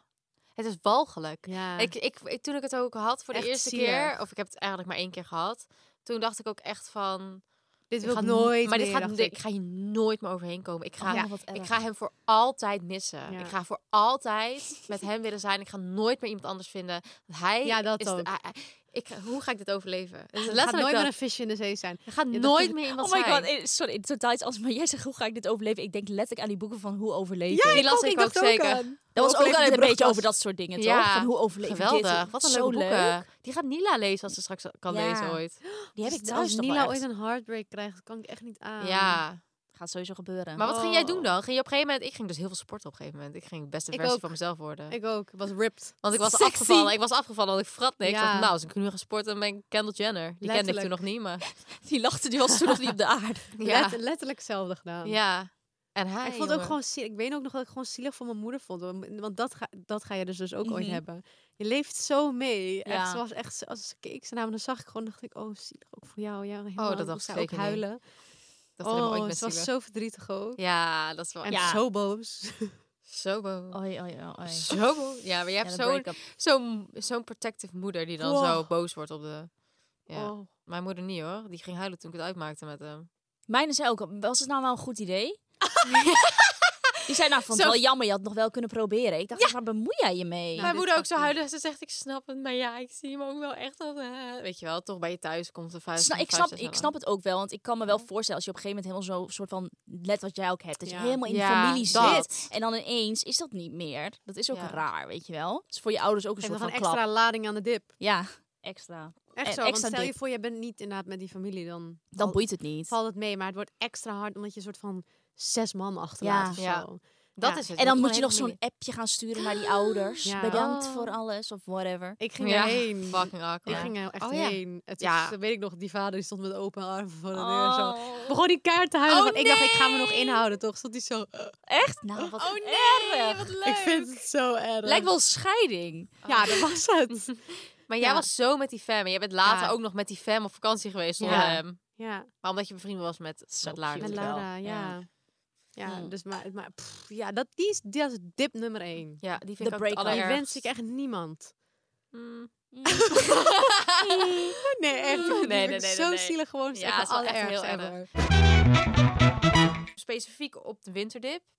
[SPEAKER 1] het is walgelijk.
[SPEAKER 3] Ja.
[SPEAKER 1] Ik, ik, ik- toen ik het ook had voor de
[SPEAKER 3] Echt
[SPEAKER 1] eerste keer,
[SPEAKER 3] zielig.
[SPEAKER 1] of ik heb het eigenlijk maar één keer gehad, toen dacht ik ook echt van...
[SPEAKER 3] dit
[SPEAKER 1] ik
[SPEAKER 3] wil
[SPEAKER 1] ga
[SPEAKER 3] ik
[SPEAKER 1] n-
[SPEAKER 3] nooit
[SPEAKER 1] Maar dit
[SPEAKER 3] meer,
[SPEAKER 1] gaat,
[SPEAKER 3] dacht
[SPEAKER 1] ik.
[SPEAKER 3] ik.
[SPEAKER 1] ga hier nooit meer overheen komen. Ik ga,
[SPEAKER 2] Oh, wat
[SPEAKER 1] ik
[SPEAKER 2] erg.
[SPEAKER 1] ga hem voor altijd missen.
[SPEAKER 3] Ja.
[SPEAKER 1] Ik ga voor altijd met hem willen zijn. Ik ga nooit meer iemand anders vinden. Want Hij
[SPEAKER 3] Ja, dat
[SPEAKER 1] is de-
[SPEAKER 3] ook.
[SPEAKER 1] hij- hij- ik, hoe ga ik dit overleven? Het is
[SPEAKER 3] Het gaat
[SPEAKER 1] letterlijk
[SPEAKER 3] nooit
[SPEAKER 1] dat.
[SPEAKER 3] meer een visje in de zee zijn.
[SPEAKER 1] Er gaat
[SPEAKER 3] dat
[SPEAKER 1] nooit
[SPEAKER 3] is-
[SPEAKER 1] meer iemand
[SPEAKER 2] Oh my
[SPEAKER 1] zijn.
[SPEAKER 2] god, eh, sorry, het is totaal iets anders. Maar jij zegt, hoe ga ik dit overleven? Ik denk letterlijk aan die boeken van hoe overleven.
[SPEAKER 1] Die las ik ook
[SPEAKER 2] dat
[SPEAKER 1] zeker.
[SPEAKER 2] was ook
[SPEAKER 3] overleef je
[SPEAKER 2] altijd
[SPEAKER 3] de
[SPEAKER 2] een beetje
[SPEAKER 3] brugklas?
[SPEAKER 2] over dat soort dingen,
[SPEAKER 1] Ja,
[SPEAKER 2] toch? Van hoe overleef ik dit?
[SPEAKER 1] Geweldig. Wat een
[SPEAKER 2] Zo
[SPEAKER 1] leuke boeken. Die gaat Nila lezen als ze straks kan
[SPEAKER 2] Ja.
[SPEAKER 1] lezen ooit.
[SPEAKER 2] Die heb
[SPEAKER 3] Dus
[SPEAKER 2] ik thuis
[SPEAKER 3] Als
[SPEAKER 2] nog wel
[SPEAKER 3] Nila
[SPEAKER 2] echt.
[SPEAKER 3] ooit een heartbreak krijgt, dat kan ik echt niet aan.
[SPEAKER 1] ja.
[SPEAKER 2] Gaat sowieso gebeuren.
[SPEAKER 1] Maar wat ging jij doen
[SPEAKER 3] Oh.
[SPEAKER 1] dan? Ging je op een gegeven moment... Ik ging dus heel veel sporten op een gegeven moment. Ik ging de beste
[SPEAKER 3] Ik
[SPEAKER 1] versie
[SPEAKER 3] ook.
[SPEAKER 1] van mezelf worden.
[SPEAKER 3] Ik ook. Was ripped.
[SPEAKER 1] Want ik was
[SPEAKER 2] Sexy.
[SPEAKER 1] afgevallen. Ik was afgevallen. want Ik vrat niks. Ik
[SPEAKER 3] Ja.
[SPEAKER 1] dacht, nou, als ik nu ga sporten, dan ben ik Kendall Jenner. Die kende ik toen
[SPEAKER 3] Letterlijk.
[SPEAKER 1] nog niet, maar...
[SPEAKER 2] Die lachte, die was toen nog niet op de aarde.
[SPEAKER 1] Ja.
[SPEAKER 3] Let- letterlijk hetzelfde gedaan.
[SPEAKER 1] Ja. En hij,
[SPEAKER 3] ik vond het
[SPEAKER 1] jongen.
[SPEAKER 3] ook gewoon zielig. Ik weet ook nog dat ik gewoon zielig voor mijn moeder vond. want- Want dat ga, dat ga je dus, dus ook ooit
[SPEAKER 2] Mhm.
[SPEAKER 3] hebben. Je leeft zo mee.
[SPEAKER 1] Ja.
[SPEAKER 3] Echt, ze was echt, zo- als ik keek ze naar me, dan zag ik gewoon, dacht ik, oh, zielig ook voor jou. Ja, helemaal.
[SPEAKER 1] dat
[SPEAKER 3] Ik
[SPEAKER 1] dacht
[SPEAKER 3] moest
[SPEAKER 1] ik
[SPEAKER 3] daar ook
[SPEAKER 1] zeker niet.
[SPEAKER 3] huilen.
[SPEAKER 1] Dat vind ik hem ooit
[SPEAKER 3] oh,
[SPEAKER 1] best
[SPEAKER 3] ze was
[SPEAKER 1] zielig.
[SPEAKER 3] zo verdrietig ook.
[SPEAKER 1] Ja, dat is wel...
[SPEAKER 3] En
[SPEAKER 1] ja.
[SPEAKER 3] zo boos.
[SPEAKER 1] Zo boos.
[SPEAKER 2] Oei, oei, oei, oei.
[SPEAKER 1] Zo boos. Ja, maar je hebt
[SPEAKER 2] Oh Ja, de
[SPEAKER 1] zo'n
[SPEAKER 2] break-up.
[SPEAKER 1] zo'n zo'n protective moeder die dan zo
[SPEAKER 3] Wow.
[SPEAKER 1] boos wordt op de... Ja.
[SPEAKER 3] Oh.
[SPEAKER 1] Mijn moeder niet, hoor. Die ging huilen toen ik het uitmaakte met hem.
[SPEAKER 2] Mijn is ook, was het nou wel een goed idee? Die zei nou, van
[SPEAKER 1] Zo-
[SPEAKER 2] wel jammer, je had het nog wel kunnen proberen. Ik dacht, waar bemoei jij je mee?
[SPEAKER 3] Nou,
[SPEAKER 1] Mijn
[SPEAKER 3] dit
[SPEAKER 1] moeder ook
[SPEAKER 3] gaat
[SPEAKER 1] zo
[SPEAKER 3] niet.
[SPEAKER 1] huilen. Ze zegt, ik snap het, maar ja, ik zie hem ook wel echt als... eh." Weet je wel, toch bij je thuis komt de vuist.
[SPEAKER 2] Sna-
[SPEAKER 1] van
[SPEAKER 2] ik,
[SPEAKER 1] de
[SPEAKER 2] snap,
[SPEAKER 1] vuist
[SPEAKER 2] ik snap het ook wel, want ik kan me wel voorstellen als je op een gegeven moment helemaal zo'n soort van, net wat jij ook hebt, dat je
[SPEAKER 3] Ja.
[SPEAKER 2] helemaal in
[SPEAKER 1] Ja,
[SPEAKER 2] de familie
[SPEAKER 1] dat.
[SPEAKER 2] zit. En dan ineens is dat niet meer. Dat is ook
[SPEAKER 1] Ja.
[SPEAKER 2] raar, weet je wel. Het is voor je ouders ook een
[SPEAKER 3] En
[SPEAKER 2] soort
[SPEAKER 3] nog
[SPEAKER 2] van
[SPEAKER 3] een extra
[SPEAKER 2] klap.
[SPEAKER 3] lading aan de dip.
[SPEAKER 2] Ja, extra.
[SPEAKER 3] Echt
[SPEAKER 2] En
[SPEAKER 3] zo. Want
[SPEAKER 2] extra
[SPEAKER 3] stel je
[SPEAKER 2] dip.
[SPEAKER 3] voor, je bent niet inderdaad met die familie, dan,
[SPEAKER 2] Dan
[SPEAKER 3] valt-
[SPEAKER 2] boeit het niet.
[SPEAKER 3] valt het mee. Maar het wordt extra hard omdat je een soort van zes man achterlaat
[SPEAKER 2] Ja.
[SPEAKER 3] of zo.
[SPEAKER 1] Ja. Dat
[SPEAKER 3] Ja.
[SPEAKER 1] is het.
[SPEAKER 2] En dan
[SPEAKER 1] hebt
[SPEAKER 2] moet je
[SPEAKER 1] gewoon
[SPEAKER 2] nog zo'n
[SPEAKER 1] hele
[SPEAKER 2] appje gaan sturen naar die ouders.
[SPEAKER 3] Ja.
[SPEAKER 2] Bedankt
[SPEAKER 1] Oh.
[SPEAKER 2] voor alles of whatever.
[SPEAKER 3] Ik ging
[SPEAKER 1] familie. Ja,
[SPEAKER 3] erheen.
[SPEAKER 1] fucking
[SPEAKER 3] Ik
[SPEAKER 1] awkward.
[SPEAKER 3] ging er echt
[SPEAKER 1] Oh, ja.
[SPEAKER 3] heen. Het
[SPEAKER 1] Ja.
[SPEAKER 3] is, weet ik nog, die vader die stond met open armen voor de deur. en Zo.
[SPEAKER 2] Oh.
[SPEAKER 3] Begon die keihard te huilen,
[SPEAKER 1] Oh,
[SPEAKER 3] want ik dacht, ik ga me nog
[SPEAKER 1] nee!
[SPEAKER 3] inhouden, toch? Stond hij zo...
[SPEAKER 2] Echt? Nou, wat
[SPEAKER 1] Oh
[SPEAKER 2] een
[SPEAKER 1] nee,
[SPEAKER 2] erg.
[SPEAKER 1] wat leuk.
[SPEAKER 3] Ik vind het zo erg.
[SPEAKER 2] Lijkt wel scheiding.
[SPEAKER 3] Ja, dat was het.
[SPEAKER 1] Maar jij
[SPEAKER 3] Ja.
[SPEAKER 1] was zo met die fam. En jij bent later
[SPEAKER 3] Ja.
[SPEAKER 1] ook nog met die fam op vakantie geweest zonder
[SPEAKER 3] Ja.
[SPEAKER 1] hem.
[SPEAKER 3] ja,
[SPEAKER 1] Maar omdat je bevriend was met, met Lara.
[SPEAKER 2] cute.
[SPEAKER 3] met
[SPEAKER 2] wel.
[SPEAKER 1] natuurlijk wel.
[SPEAKER 3] Laura, ja. Ja,
[SPEAKER 2] Hmm.
[SPEAKER 3] dus maar... maar pff, ja, dat, die is, dat is dip nummer één.
[SPEAKER 1] Ja, die
[SPEAKER 2] De
[SPEAKER 1] vind ik ook het
[SPEAKER 2] break-up.
[SPEAKER 3] Die
[SPEAKER 1] allerergst.
[SPEAKER 3] wens ik echt niemand.
[SPEAKER 2] hmm.
[SPEAKER 1] Mm.
[SPEAKER 3] Nee,
[SPEAKER 1] Nee,
[SPEAKER 3] echt. Nee,
[SPEAKER 1] nee,
[SPEAKER 3] nee,
[SPEAKER 1] nee,
[SPEAKER 3] Zo
[SPEAKER 1] nee.
[SPEAKER 3] zielig gewoon.
[SPEAKER 1] Ja,
[SPEAKER 3] Ja,
[SPEAKER 1] het is
[SPEAKER 3] echt
[SPEAKER 1] wel
[SPEAKER 3] wel
[SPEAKER 1] echt
[SPEAKER 3] allerergst
[SPEAKER 1] heel erg.
[SPEAKER 3] ever.
[SPEAKER 1] Specifiek op de winterdip.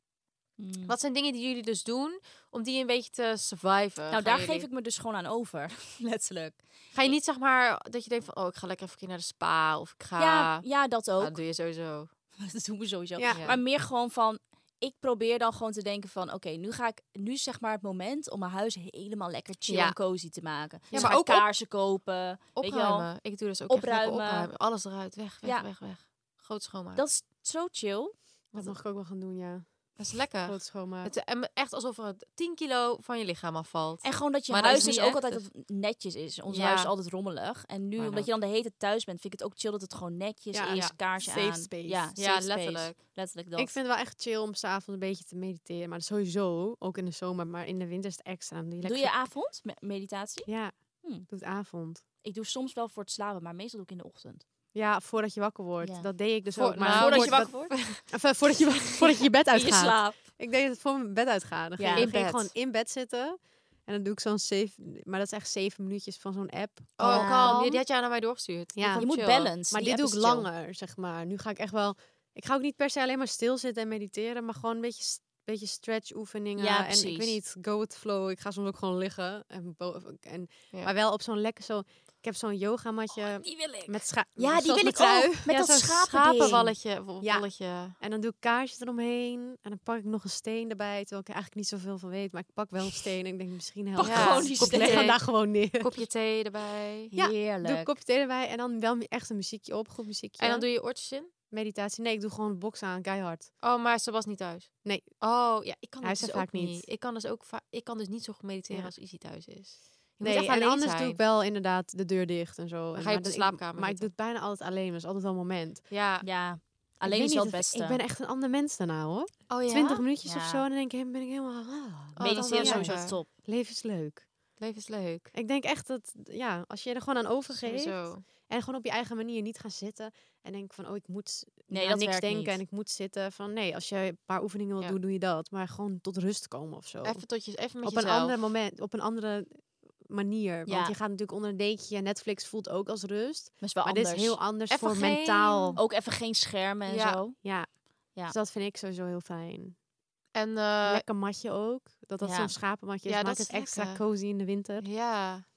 [SPEAKER 2] Mm.
[SPEAKER 1] Wat zijn dingen die jullie dus doen om die een beetje te surviven?
[SPEAKER 2] Nou,
[SPEAKER 1] Gaan
[SPEAKER 2] daar
[SPEAKER 1] jullie-
[SPEAKER 2] geef ik me dus gewoon aan over. Letterlijk.
[SPEAKER 1] Ga je niet zeg maar dat je denkt van oh ik ga lekker even een keer naar de spa of ik ga.
[SPEAKER 2] Ja, ja, dat
[SPEAKER 1] Ah,
[SPEAKER 2] ook.
[SPEAKER 1] dat doe je sowieso.
[SPEAKER 2] Dat doen we sowieso.
[SPEAKER 3] Ja.
[SPEAKER 1] Ah. Ja.
[SPEAKER 2] Maar meer gewoon van. Ik probeer dan gewoon te denken van, oké, nu ga ik, nu is zeg maar het moment om mijn huis helemaal lekker chill
[SPEAKER 1] Ja.
[SPEAKER 2] en cozy te maken. Ja,
[SPEAKER 1] maar
[SPEAKER 2] maar ook
[SPEAKER 1] ook op-
[SPEAKER 2] kaarsen kopen. Weet je wel.
[SPEAKER 1] Opruimen. Ik doe dus ook echt lekker
[SPEAKER 2] Opruimen.
[SPEAKER 1] opruimen. Alles eruit, weg, weg,
[SPEAKER 2] Ja.
[SPEAKER 1] weg, weg. Groot schoonmaken.
[SPEAKER 2] Dat is zo chill.
[SPEAKER 3] Dat mag ik ook wel gaan doen, ja.
[SPEAKER 1] Dat is lekker.
[SPEAKER 3] Groot schoonmaak.
[SPEAKER 1] Het, en echt alsof er 10 kilo van je lichaam afvalt.
[SPEAKER 2] En gewoon dat je
[SPEAKER 1] Maar dat
[SPEAKER 2] huis
[SPEAKER 1] is
[SPEAKER 2] dus
[SPEAKER 1] niet
[SPEAKER 2] ook
[SPEAKER 1] echt,
[SPEAKER 2] altijd netjes is. Ons
[SPEAKER 1] Ja.
[SPEAKER 2] huis is altijd rommelig. En nu,
[SPEAKER 1] Maar
[SPEAKER 2] omdat je dan de hele tijd thuis bent, vind ik het ook chill dat het gewoon netjes
[SPEAKER 3] Ja,
[SPEAKER 2] is.
[SPEAKER 1] ja.
[SPEAKER 2] Kaarsje
[SPEAKER 3] Safe
[SPEAKER 2] aan.
[SPEAKER 3] space.
[SPEAKER 2] Ja,
[SPEAKER 3] Ja,
[SPEAKER 2] safe
[SPEAKER 1] ja,
[SPEAKER 2] space.
[SPEAKER 1] letterlijk.
[SPEAKER 2] Letterlijk dat.
[SPEAKER 3] Ik vind het wel echt chill om s'avonds een beetje te mediteren. Maar sowieso, ook in de zomer, maar in de winter is het extra. Dan Doe je,
[SPEAKER 2] Doe
[SPEAKER 3] lekker
[SPEAKER 2] je
[SPEAKER 3] zo-
[SPEAKER 2] avond me- meditatie?
[SPEAKER 3] Ja,
[SPEAKER 2] Hmm.
[SPEAKER 3] ik doe het avond.
[SPEAKER 2] Ik doe soms wel voor het slapen, maar meestal doe ik in de ochtend.
[SPEAKER 3] Ja, voordat je wakker wordt.
[SPEAKER 2] Ja.
[SPEAKER 3] Dat deed ik dus
[SPEAKER 1] Voor-
[SPEAKER 3] ook. Maar
[SPEAKER 1] nou,
[SPEAKER 3] voordat,
[SPEAKER 1] wordt
[SPEAKER 3] je wakker
[SPEAKER 1] dat-
[SPEAKER 3] wordt? Enfin, voordat, je, wa- voordat je je bed
[SPEAKER 2] In je
[SPEAKER 3] uitgaat.
[SPEAKER 2] slaap.
[SPEAKER 3] Ik deed het voor mijn bed uitgaan. Dan
[SPEAKER 2] Ja.
[SPEAKER 3] ging, dan
[SPEAKER 1] In
[SPEAKER 3] ging ik
[SPEAKER 1] bed.
[SPEAKER 3] gewoon in bed zitten. En dan doe ik zo'n zeven... Maar dat is echt zeven minuutjes van zo'n app.
[SPEAKER 1] Oh,
[SPEAKER 2] Ja.
[SPEAKER 1] kalm. Die had jij naar mij doorgestuurd.
[SPEAKER 3] Ja.
[SPEAKER 2] Je moet
[SPEAKER 1] chill.
[SPEAKER 2] balance.
[SPEAKER 3] Maar
[SPEAKER 2] Die
[SPEAKER 3] dit doe
[SPEAKER 2] app is
[SPEAKER 3] ik
[SPEAKER 2] chill.
[SPEAKER 3] langer, zeg maar. Nu ga ik echt wel... Ik ga ook niet per se alleen maar stilzitten en mediteren. Maar gewoon een beetje, s- beetje stretch oefeningen.
[SPEAKER 2] Ja,
[SPEAKER 3] en ik
[SPEAKER 2] precies.
[SPEAKER 3] weet niet, go with flow. Ik ga soms ook gewoon liggen. En bo- en,
[SPEAKER 1] Ja.
[SPEAKER 3] Maar wel op zo'n lekker zo... Ik heb zo'n yogamatje
[SPEAKER 2] Die wil Oh, ik.
[SPEAKER 3] met scha-
[SPEAKER 2] Ja, die
[SPEAKER 3] zoals
[SPEAKER 2] wil
[SPEAKER 3] mijn
[SPEAKER 2] ik
[SPEAKER 3] trui.
[SPEAKER 2] ook. Met
[SPEAKER 1] Ja,
[SPEAKER 2] dat
[SPEAKER 1] zo'n
[SPEAKER 2] schapenwallet.
[SPEAKER 1] schapenwalletje. wo-
[SPEAKER 3] Ja.
[SPEAKER 1] walletje.
[SPEAKER 3] En dan doe ik kaarsjes eromheen. En dan pak ik nog een steen erbij. Terwijl ik er eigenlijk niet zoveel van weet. Maar ik pak wel een steen. En ik denk misschien helpt
[SPEAKER 1] Pak
[SPEAKER 3] het.
[SPEAKER 1] gewoon die
[SPEAKER 3] Ik leg
[SPEAKER 1] steen.
[SPEAKER 3] hem daar gewoon neer.
[SPEAKER 1] Kopje thee erbij.
[SPEAKER 3] Ja,
[SPEAKER 2] Heerlijk.
[SPEAKER 3] Doe een kopje thee erbij. En dan wel echt een muziekje op. Goed muziekje.
[SPEAKER 1] En dan doe je je oortjes in?
[SPEAKER 3] meditatie. Nee, ik doe gewoon box aan. Keihard.
[SPEAKER 1] Oh, maar ze was niet thuis.
[SPEAKER 3] Nee.
[SPEAKER 1] Oh, ja, ik kan
[SPEAKER 3] Hij
[SPEAKER 1] dat
[SPEAKER 3] is er
[SPEAKER 1] dus
[SPEAKER 3] vaak
[SPEAKER 1] ook niet.
[SPEAKER 3] niet.
[SPEAKER 1] Ik kan dus ook va- ik kan dus niet zo goed mediteren
[SPEAKER 3] Ja.
[SPEAKER 1] als Izzy thuis is. Je moet
[SPEAKER 3] Nee,
[SPEAKER 1] echt
[SPEAKER 3] en
[SPEAKER 1] alleen
[SPEAKER 3] anders
[SPEAKER 1] zijn.
[SPEAKER 3] doe ik wel inderdaad de deur dicht en zo. En
[SPEAKER 1] je op de
[SPEAKER 3] dat ik-
[SPEAKER 1] slaapkamer
[SPEAKER 3] Maar ik
[SPEAKER 1] zitten.
[SPEAKER 3] doe het bijna altijd alleen. Dat is altijd wel een moment. Ik
[SPEAKER 1] Ja.
[SPEAKER 2] Ja. Alleen
[SPEAKER 3] weet
[SPEAKER 2] is wel het
[SPEAKER 3] niet of-
[SPEAKER 2] beste.
[SPEAKER 3] Ik ben echt een ander mens daarna hoor.
[SPEAKER 1] Oh ja?
[SPEAKER 3] Twintig minuutjes of
[SPEAKER 2] Ja.
[SPEAKER 3] zo. En dan denk ik, hey, ben ik helemaal... ah,
[SPEAKER 1] Oh, dat is wel
[SPEAKER 2] Mediteren is sowieso
[SPEAKER 1] lekker.
[SPEAKER 2] top.
[SPEAKER 3] Leven is leuk.
[SPEAKER 1] Leven is leuk.
[SPEAKER 3] Ik denk echt dat, ja, als je er gewoon aan overgeeft.
[SPEAKER 1] Sowieso.
[SPEAKER 3] En gewoon op je eigen manier niet gaan zitten. En denken van, oh, ik moet
[SPEAKER 2] Nee,
[SPEAKER 3] aan
[SPEAKER 2] dat
[SPEAKER 3] niks
[SPEAKER 2] werkt
[SPEAKER 3] denken
[SPEAKER 2] niet.
[SPEAKER 3] en ik moet zitten. Van nee, als je een paar oefeningen wil
[SPEAKER 1] Ja.
[SPEAKER 3] doen, doe je dat. Maar gewoon tot rust komen of zo.
[SPEAKER 1] Even, tot je, even met
[SPEAKER 3] op een
[SPEAKER 1] jezelf.
[SPEAKER 3] ander moment, op een andere manier.
[SPEAKER 2] Ja.
[SPEAKER 3] Want je gaat natuurlijk onder een dekentje. Netflix voelt ook als rust.
[SPEAKER 2] Maar is wel
[SPEAKER 3] Maar
[SPEAKER 2] anders.
[SPEAKER 3] dit is heel anders
[SPEAKER 1] Even
[SPEAKER 3] voor
[SPEAKER 1] geen- Oh.
[SPEAKER 3] mentaal.
[SPEAKER 2] Ook even geen schermen en
[SPEAKER 1] Ja.
[SPEAKER 2] zo.
[SPEAKER 3] Ja.
[SPEAKER 2] Ja.
[SPEAKER 3] Dus dat vind ik sowieso heel fijn.
[SPEAKER 1] En eh,
[SPEAKER 3] Lekker matje ook. Dat dat
[SPEAKER 2] ja.
[SPEAKER 3] zo'n schapenmatje is.
[SPEAKER 1] Ja,
[SPEAKER 3] maakt
[SPEAKER 1] dat
[SPEAKER 3] het
[SPEAKER 1] is
[SPEAKER 3] extra
[SPEAKER 1] lekker.
[SPEAKER 3] cozy in de winter.
[SPEAKER 1] ja.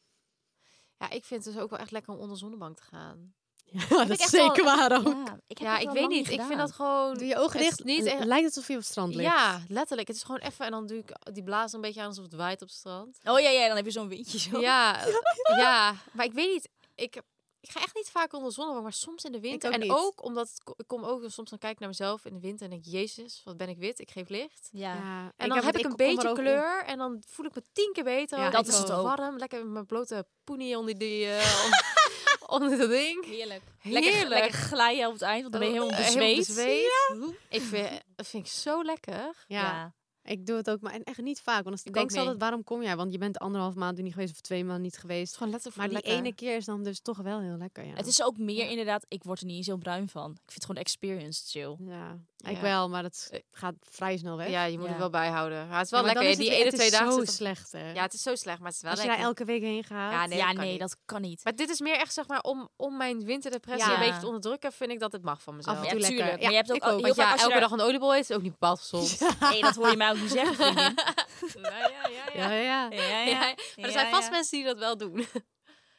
[SPEAKER 1] Ja, ik vind het dus ook wel echt lekker om onder zonnebank te gaan.
[SPEAKER 3] Ja,
[SPEAKER 2] Heb
[SPEAKER 3] dat
[SPEAKER 2] ik
[SPEAKER 3] is
[SPEAKER 2] echt
[SPEAKER 3] zeker
[SPEAKER 2] wel-
[SPEAKER 3] waar ook.
[SPEAKER 2] Ja, ik, heb
[SPEAKER 1] Ja,
[SPEAKER 2] dat
[SPEAKER 1] ik
[SPEAKER 2] wel
[SPEAKER 1] weet
[SPEAKER 2] lang
[SPEAKER 1] niet. Ik vind dat
[SPEAKER 2] gedaan.
[SPEAKER 1] gewoon...
[SPEAKER 3] Doe je ogen
[SPEAKER 1] Het is
[SPEAKER 3] dicht.
[SPEAKER 1] niet echt-
[SPEAKER 3] Lijkt het alsof je op het strand ligt.
[SPEAKER 1] Ja, letterlijk. Het is gewoon even en dan doe ik die blaas een beetje aan alsof het waait op het strand.
[SPEAKER 2] Oh ja, ja, dan heb je zo'n windje zo.
[SPEAKER 1] Ja, ja, maar ik weet niet. Ik, ik ga echt niet vaak onder de zonnebank, maar soms in de winter.
[SPEAKER 3] ook
[SPEAKER 1] en
[SPEAKER 3] niet.
[SPEAKER 1] ook omdat het ko- ik kom ook soms dan kijk ik naar mezelf in de winter en denk jezus, wat ben ik wit? Ik geef licht.
[SPEAKER 2] Ja.
[SPEAKER 3] Ja,
[SPEAKER 1] En dan heb, ik een
[SPEAKER 3] kom er
[SPEAKER 1] beetje
[SPEAKER 3] ook om.
[SPEAKER 1] kleur en dan voel ik me tien keer beter.
[SPEAKER 3] Ja,
[SPEAKER 1] Ik
[SPEAKER 2] dat is
[SPEAKER 1] word
[SPEAKER 2] het ook.
[SPEAKER 1] Warm, lekker met mijn blote poenie onder die eh, on- onder dat ding.
[SPEAKER 2] Heerlijk.
[SPEAKER 1] Heerlijk.
[SPEAKER 2] Lekker, lekker glijden op het eind, want dan ben je helemaal
[SPEAKER 1] Eh,
[SPEAKER 2] bezweet.
[SPEAKER 1] Ik vind, dat vind ik zo lekker.
[SPEAKER 3] Ja, ik doe het ook, maar en echt niet vaak. Want als ik
[SPEAKER 1] Ik
[SPEAKER 3] denk
[SPEAKER 1] ook
[SPEAKER 3] ze altijd,
[SPEAKER 1] niet.
[SPEAKER 3] waarom kom jij? Want je bent anderhalf maand er niet geweest of twee maanden niet
[SPEAKER 1] Het is
[SPEAKER 3] geweest.
[SPEAKER 1] gewoon letterlijk
[SPEAKER 3] Maar die
[SPEAKER 1] lekker.
[SPEAKER 3] ene keer is dan dus toch wel heel lekker, ja.
[SPEAKER 2] Het is ook meer
[SPEAKER 1] Ja.
[SPEAKER 2] inderdaad, ik word er niet eens heel bruin van. Ik vind het gewoon de experience chill.
[SPEAKER 3] ja, ik
[SPEAKER 1] Ja.
[SPEAKER 3] wel, maar dat
[SPEAKER 1] Eh.
[SPEAKER 3] gaat vrij snel weg.
[SPEAKER 1] Ja, je moet
[SPEAKER 2] Ja.
[SPEAKER 1] het wel bijhouden. Ja, het is wel
[SPEAKER 3] Ja, maar
[SPEAKER 1] lekker.
[SPEAKER 3] dan is het
[SPEAKER 1] die
[SPEAKER 3] weer-
[SPEAKER 1] ene,
[SPEAKER 3] het
[SPEAKER 1] twee
[SPEAKER 3] is
[SPEAKER 1] dagen
[SPEAKER 3] zo
[SPEAKER 1] zit het-
[SPEAKER 3] slecht, hè.
[SPEAKER 1] Ja, het is zo slecht, maar het is wel
[SPEAKER 3] Als je
[SPEAKER 1] lekker.
[SPEAKER 3] daar elke week heen gaat.
[SPEAKER 1] Ja, nee,
[SPEAKER 2] ja,
[SPEAKER 1] dat kan
[SPEAKER 2] nee,
[SPEAKER 1] niet.
[SPEAKER 2] dat kan niet.
[SPEAKER 1] Maar dit is meer echt, zeg maar, om, om mijn winterdepressie
[SPEAKER 2] Ja.
[SPEAKER 1] een beetje te onderdrukken, vind ik dat het mag van mezelf.
[SPEAKER 3] Af
[SPEAKER 2] Ja,
[SPEAKER 3] en toe lekker.
[SPEAKER 2] tuurlijk.
[SPEAKER 3] Ja,
[SPEAKER 2] maar je hebt ook,
[SPEAKER 3] ik
[SPEAKER 2] al-
[SPEAKER 3] ook.
[SPEAKER 2] heel
[SPEAKER 1] Want
[SPEAKER 2] vaak
[SPEAKER 1] ja,
[SPEAKER 2] als je
[SPEAKER 1] elke
[SPEAKER 2] daar-
[SPEAKER 1] dag een oliebol eet, is ook niet bepaald gezond. Ja,
[SPEAKER 2] Hey, dat hoor je mij ook niet zeggen, vriendin.
[SPEAKER 1] ja, ja.
[SPEAKER 3] Ja, Oh ja.
[SPEAKER 2] Ja,
[SPEAKER 1] Ja,
[SPEAKER 2] ja.
[SPEAKER 1] Maar er zijn vast
[SPEAKER 2] ja.
[SPEAKER 1] mensen die dat wel doen.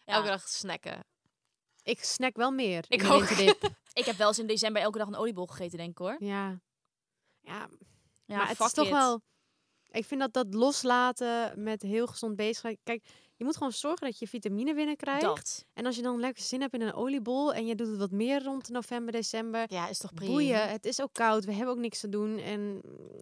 [SPEAKER 2] Ja.
[SPEAKER 1] Elke dag snacken.
[SPEAKER 3] Ik snack wel meer.
[SPEAKER 1] Ik
[SPEAKER 3] in de
[SPEAKER 1] ook.
[SPEAKER 3] winterdip.
[SPEAKER 2] Ik heb wel eens in december elke dag een oliebol gegeten, denk ik hoor.
[SPEAKER 3] Ja. Ja,
[SPEAKER 2] Ja,
[SPEAKER 3] maar het
[SPEAKER 2] fuck
[SPEAKER 3] is toch
[SPEAKER 2] it.
[SPEAKER 3] wel... Ik vind dat dat loslaten met heel gezond bezig zijn. Kijk, je moet gewoon zorgen dat je vitamine binnenkrijgt.
[SPEAKER 2] dat.
[SPEAKER 3] En als je dan lekker zin hebt in een oliebol en je doet het wat meer rond november, december.
[SPEAKER 1] Ja, is toch prima.
[SPEAKER 3] Boeien, het is ook koud, we hebben ook niks te doen. En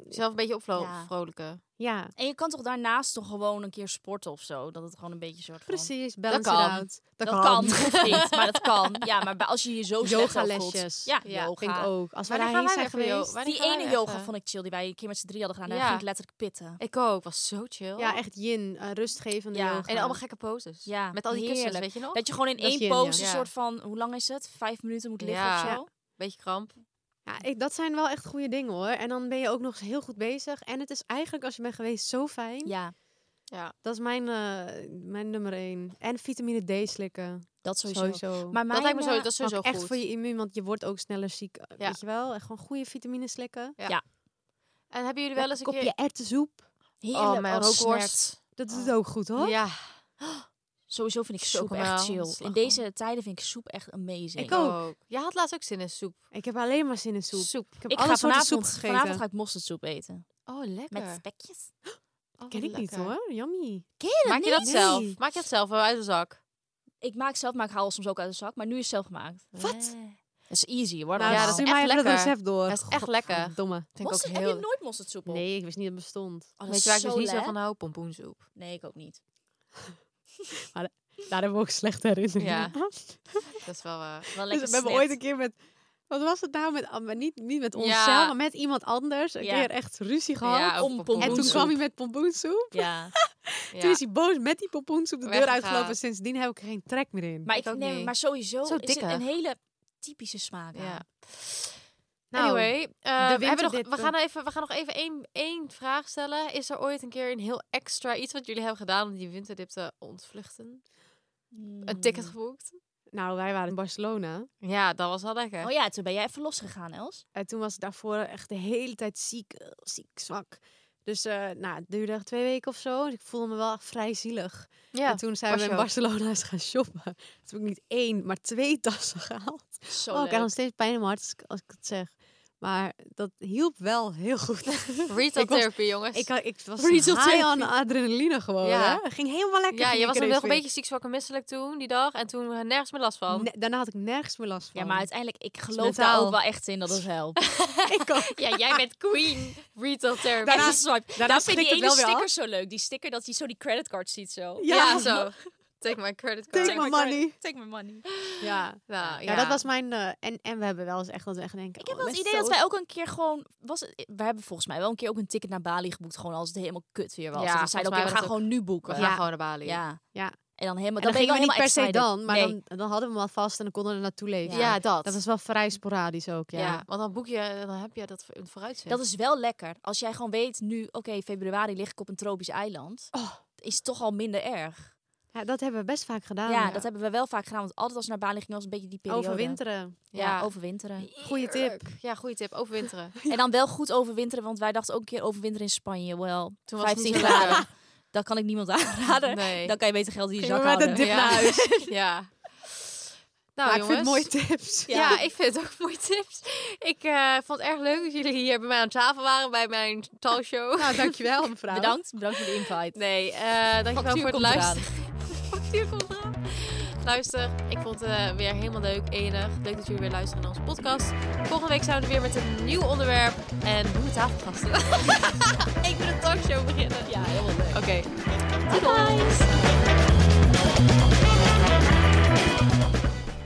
[SPEAKER 1] Zelf een beetje
[SPEAKER 2] Ja.
[SPEAKER 1] opvrolijken. vrolijken.
[SPEAKER 3] ja,
[SPEAKER 2] En je kan toch daarnaast toch gewoon een keer sporten of zo? Dat het gewoon een beetje soort van...
[SPEAKER 3] precies, balance
[SPEAKER 1] kan.
[SPEAKER 3] it out.
[SPEAKER 2] Dat, kan, hoeft niet, maar dat kan. Ja, maar bij- als je je zo slecht al voelt...
[SPEAKER 3] Yogalesjes.
[SPEAKER 2] Ja,
[SPEAKER 1] Ja,
[SPEAKER 3] Vind ik
[SPEAKER 2] yoga.
[SPEAKER 3] ook. Als we
[SPEAKER 1] Wanneer
[SPEAKER 3] daarheen
[SPEAKER 1] gaan
[SPEAKER 3] zijn
[SPEAKER 1] wij weer voor
[SPEAKER 3] geweest.
[SPEAKER 1] yo- wanneer
[SPEAKER 2] Die
[SPEAKER 1] gaan wij
[SPEAKER 2] ene
[SPEAKER 1] weer
[SPEAKER 2] yoga
[SPEAKER 1] even?
[SPEAKER 2] vond ik chill, die wij een keer met z'n drie hadden gedaan.
[SPEAKER 1] Ja.
[SPEAKER 2] Daar ging ik letterlijk pitten.
[SPEAKER 1] Ik ook, was zo chill.
[SPEAKER 3] Ja, echt yin, eh, rustgevende
[SPEAKER 2] Ja,
[SPEAKER 3] yoga.
[SPEAKER 1] En allemaal gekke poses.
[SPEAKER 2] Ja,
[SPEAKER 1] Met al die kussens,
[SPEAKER 2] heerlijk.
[SPEAKER 1] weet je nog?
[SPEAKER 2] Dat je gewoon in
[SPEAKER 3] Dat
[SPEAKER 2] één
[SPEAKER 3] je in,
[SPEAKER 2] pose
[SPEAKER 1] ja.
[SPEAKER 2] een soort van... Hoe lang is het? Vijf minuten moet liggen
[SPEAKER 1] Ja.
[SPEAKER 2] of zo?
[SPEAKER 1] Ja. Beetje kramp.
[SPEAKER 3] ja, ik, dat zijn wel echt goede dingen hoor. En dan ben je ook nog eens heel goed bezig. En het is eigenlijk, als je bent geweest, zo fijn.
[SPEAKER 2] Ja,
[SPEAKER 3] Dat is mijn, eh, mijn nummer één. En vitamine D slikken.
[SPEAKER 2] dat sowieso.
[SPEAKER 3] Sowieso.
[SPEAKER 2] Maar
[SPEAKER 1] Dat
[SPEAKER 2] mijn,
[SPEAKER 1] lijkt me zo,
[SPEAKER 2] eh,
[SPEAKER 1] dat is sowieso
[SPEAKER 3] ook echt
[SPEAKER 1] goed.
[SPEAKER 3] voor je immuun, want je wordt ook sneller ziek. eh,
[SPEAKER 1] Ja.
[SPEAKER 3] Weet je wel? En gewoon goede vitamine slikken.
[SPEAKER 1] En hebben jullie wel eens een keer...
[SPEAKER 3] kopje erwtensoep.
[SPEAKER 2] heerlijk.
[SPEAKER 1] oh, mijn
[SPEAKER 2] als
[SPEAKER 1] rookworst.
[SPEAKER 3] Dat doet het ook goed, hoor.
[SPEAKER 1] Ja,
[SPEAKER 2] Sowieso vind ik soep
[SPEAKER 1] Chocomel,
[SPEAKER 2] echt chill. In
[SPEAKER 1] slagroom.
[SPEAKER 2] deze tijden vind eh, ik soep echt amazing.
[SPEAKER 3] Ik ook.
[SPEAKER 1] Jij had laatst ook zin in soep.
[SPEAKER 3] Ik heb alleen maar zin in soep.
[SPEAKER 1] Soep.
[SPEAKER 3] Ik heb
[SPEAKER 2] Ik
[SPEAKER 3] alle
[SPEAKER 2] ga
[SPEAKER 3] soorten
[SPEAKER 2] vanavond,
[SPEAKER 3] soep gegeten.
[SPEAKER 2] vanavond ga ik mosterdsoep eten.
[SPEAKER 1] Oh, lekker.
[SPEAKER 2] Met spekjes.
[SPEAKER 1] Oh,
[SPEAKER 3] Ken ik niet,
[SPEAKER 1] lekker.
[SPEAKER 3] hoor. Yummy.
[SPEAKER 1] Maak je dat
[SPEAKER 3] niet? Nee.
[SPEAKER 1] zelf? Maak je dat zelf wel uit de zak?
[SPEAKER 2] Ik maak zelf, maar ik haal soms ook uit de zak. Maar nu is het zelf gemaakt. Eh,
[SPEAKER 3] Wat?
[SPEAKER 2] is easy hoor.
[SPEAKER 3] Nou,
[SPEAKER 1] Ja,
[SPEAKER 3] ja,
[SPEAKER 1] dat
[SPEAKER 3] dat
[SPEAKER 1] is
[SPEAKER 3] is mij
[SPEAKER 1] echt
[SPEAKER 3] even dat
[SPEAKER 1] lekker.
[SPEAKER 3] recept door.
[SPEAKER 1] Dat is echt lekker.
[SPEAKER 3] Domme.
[SPEAKER 1] Vind ik ook
[SPEAKER 2] Heb je
[SPEAKER 1] heel...
[SPEAKER 2] nooit mosterdsoep op?
[SPEAKER 3] Nee, ik wist niet dat het bestond.
[SPEAKER 2] Oh, dat
[SPEAKER 1] Weet
[SPEAKER 2] is
[SPEAKER 1] je waar ik dus
[SPEAKER 2] zo
[SPEAKER 1] niet zo
[SPEAKER 2] lekker.
[SPEAKER 1] van hou? Pompoensoep.
[SPEAKER 2] Nee, ik ook niet.
[SPEAKER 3] Daar hebben we ook slecht herinneringen
[SPEAKER 1] Ja.
[SPEAKER 3] aan.
[SPEAKER 1] Dat is wel... eh,
[SPEAKER 2] Wel lekker
[SPEAKER 3] Dus we hebben
[SPEAKER 2] snit.
[SPEAKER 3] ooit een keer met... Wat was het nou? Met, maar niet, niet met
[SPEAKER 1] Ja.
[SPEAKER 3] onszelf, maar met iemand anders. Een
[SPEAKER 2] Ja.
[SPEAKER 3] keer echt ruzie gehad.
[SPEAKER 1] ja, over
[SPEAKER 2] om pompoen.
[SPEAKER 3] en toen
[SPEAKER 2] pompoensoep.
[SPEAKER 3] kwam hij met pompoensoep.
[SPEAKER 2] Ja.
[SPEAKER 1] Ja.
[SPEAKER 3] Toen is hij boos met die pompoensoep de deur
[SPEAKER 1] Weggegaan.
[SPEAKER 3] uitgelopen. Sindsdien heb ik er geen trek meer in.
[SPEAKER 2] Maar,
[SPEAKER 1] Ik
[SPEAKER 2] ik
[SPEAKER 1] ook
[SPEAKER 2] nee,
[SPEAKER 1] niet.
[SPEAKER 2] maar sowieso
[SPEAKER 1] Zo
[SPEAKER 2] is het
[SPEAKER 1] dikker.
[SPEAKER 2] een hele typische smaak. aan.
[SPEAKER 1] Ja.
[SPEAKER 6] Nou,
[SPEAKER 1] anyway, eh, we, hebben nog,
[SPEAKER 3] dit-
[SPEAKER 1] we, gaan nou even, we gaan nog even één, één vraag stellen. Is er ooit een keer een heel extra iets wat jullie hebben gedaan om die winterdip te ontvluchten?
[SPEAKER 2] Mm.
[SPEAKER 1] Een ticket geboekt?
[SPEAKER 3] Nou, wij waren in Barcelona.
[SPEAKER 1] Mm. Ja, dat was wel lekker.
[SPEAKER 2] Oh ja, toen ben jij even losgegaan, Els.
[SPEAKER 3] En toen was ik daarvoor echt de hele tijd ziek, eh, ziek, zwak. Dus eh, nou, het duurde echt twee weken of zo. Dus ik voelde me wel echt vrij zielig. en toen zijn
[SPEAKER 1] was
[SPEAKER 3] we in
[SPEAKER 1] je ook.
[SPEAKER 3] Barcelona eens gaan shoppen. Toen heb ik niet één, maar twee tassen gehaald.
[SPEAKER 2] Zo
[SPEAKER 3] oh, ik
[SPEAKER 2] leuk.
[SPEAKER 3] heb nog steeds pijn in mijn hart als ik, als ik het zeg. Maar dat hielp wel heel goed.
[SPEAKER 1] Retail
[SPEAKER 3] Ik was-
[SPEAKER 1] therapy, jongens.
[SPEAKER 3] ik, had- ik was
[SPEAKER 2] Retail
[SPEAKER 3] high aan adrenaline gewoon.
[SPEAKER 1] Ja.
[SPEAKER 3] Hè? Het ging helemaal lekker.
[SPEAKER 1] ja,
[SPEAKER 3] ging
[SPEAKER 1] je
[SPEAKER 3] ik
[SPEAKER 1] was nog
[SPEAKER 3] ineens
[SPEAKER 1] een
[SPEAKER 3] weer.
[SPEAKER 1] beetje ziek, zwak en misselijk toen, die dag. En toen eh, nergens meer last van.
[SPEAKER 3] Ne- daarna had ik nergens meer last van.
[SPEAKER 2] Ja, maar uiteindelijk, ik geloof
[SPEAKER 3] mentaal.
[SPEAKER 2] daar ook wel echt in dat het helpt.
[SPEAKER 3] ik ook.
[SPEAKER 1] Ja, jij bent queen. Retail therapy.
[SPEAKER 3] Daarna-
[SPEAKER 2] Even swipe.
[SPEAKER 3] daarna
[SPEAKER 2] Daarom vind ik die
[SPEAKER 3] schrikt het
[SPEAKER 2] ene
[SPEAKER 3] wel weer
[SPEAKER 2] sticker
[SPEAKER 3] af.
[SPEAKER 2] zo leuk. Die sticker dat hij zo die creditcard ziet zo.
[SPEAKER 1] ja.
[SPEAKER 3] Ja.
[SPEAKER 1] zo. Take my credit card.
[SPEAKER 3] Take my money.
[SPEAKER 2] Take my
[SPEAKER 1] Oh,
[SPEAKER 2] money.
[SPEAKER 3] Ja.
[SPEAKER 1] Nou,
[SPEAKER 3] Ja, dat was mijn... eh, en, en we hebben wel eens echt dat we echt denken... oh,
[SPEAKER 2] Ik heb wel het idee dat wij ook een keer gewoon... Was het, we hebben volgens mij wel een keer ook een ticket naar Bali geboekt. Gewoon als het helemaal kut weer was. Dus
[SPEAKER 1] Ja,
[SPEAKER 2] Ja, we
[SPEAKER 1] volgens
[SPEAKER 2] zeiden ook, ja,
[SPEAKER 1] mij
[SPEAKER 2] we
[SPEAKER 1] was
[SPEAKER 2] gaan
[SPEAKER 1] het
[SPEAKER 2] gewoon nu boeken.
[SPEAKER 1] We gaan gewoon naar Bali.
[SPEAKER 2] Ja.
[SPEAKER 3] Ja.
[SPEAKER 2] En dan helemaal...
[SPEAKER 3] En dan,
[SPEAKER 2] ben je
[SPEAKER 3] gingen we niet
[SPEAKER 2] helemaal
[SPEAKER 3] per se
[SPEAKER 2] excited.
[SPEAKER 3] dan, maar
[SPEAKER 2] Nee.
[SPEAKER 3] dan, dan hadden we hem al vast en dan konden we er naartoe leven.
[SPEAKER 2] Ja.
[SPEAKER 1] Ja, dat.
[SPEAKER 3] Dat was wel vrij sporadisch ook,
[SPEAKER 1] ja.
[SPEAKER 3] ja.
[SPEAKER 1] want dan boek je, dan heb je dat in het vooruitzicht.
[SPEAKER 2] Dat is wel lekker. Als jij gewoon weet nu, oké, februari lig ik op een tropisch eiland.
[SPEAKER 3] Oh.
[SPEAKER 2] Is toch al minder erg.
[SPEAKER 3] Ja, dat hebben we best vaak gedaan.
[SPEAKER 2] ja, dat hebben we wel vaak gedaan. Want altijd als we naar Bali gingen was een beetje die periode.
[SPEAKER 3] Overwinteren.
[SPEAKER 2] Ja, overwinteren.
[SPEAKER 3] Goeie tip.
[SPEAKER 1] Ja, goede tip. Overwinteren.
[SPEAKER 2] En dan wel goed overwinteren, want wij dachten ook een keer overwinteren in Spanje. Wel,
[SPEAKER 1] Toen was het
[SPEAKER 2] 15
[SPEAKER 1] niet zo
[SPEAKER 2] graden. Dat kan ik niemand aanraden.
[SPEAKER 1] Nee.
[SPEAKER 2] Dan kan je beter geld in je
[SPEAKER 3] Gingen
[SPEAKER 2] zak
[SPEAKER 3] we met een
[SPEAKER 2] houden.
[SPEAKER 1] ja.
[SPEAKER 3] dip naar huis.
[SPEAKER 1] ja. Nou,
[SPEAKER 2] Nou,
[SPEAKER 3] maar ik
[SPEAKER 1] jongens.
[SPEAKER 3] vind het mooie tips.
[SPEAKER 1] Ja. ik vind het ook mooie tips. Ik eh, vond het erg leuk dat jullie hier bij mij aan tafel waren bij mijn talkshow.
[SPEAKER 3] Nou, dankjewel mevrouw.
[SPEAKER 2] Bedankt, bedankt voor de invite.
[SPEAKER 1] Nee, eh dankjewel
[SPEAKER 2] Factuur
[SPEAKER 1] voor het
[SPEAKER 2] komt eraan.
[SPEAKER 1] luisteren. Factuur komt eraan. Luister, ik vond het eh, weer helemaal leuk, enig. Leuk dat jullie weer luisteren naar onze podcast. Volgende week zijn we er weer met een nieuw onderwerp en nieuwe tafelgasten. ik wil een talkshow beginnen. Ja, helemaal leuk. Oké.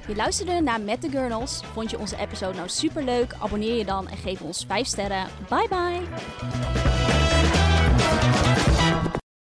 [SPEAKER 2] Je luisterde naar Met de Gurnals. Vond je onze episode nou superleuk? Abonneer je dan en geef ons 5 sterren. Bye bye!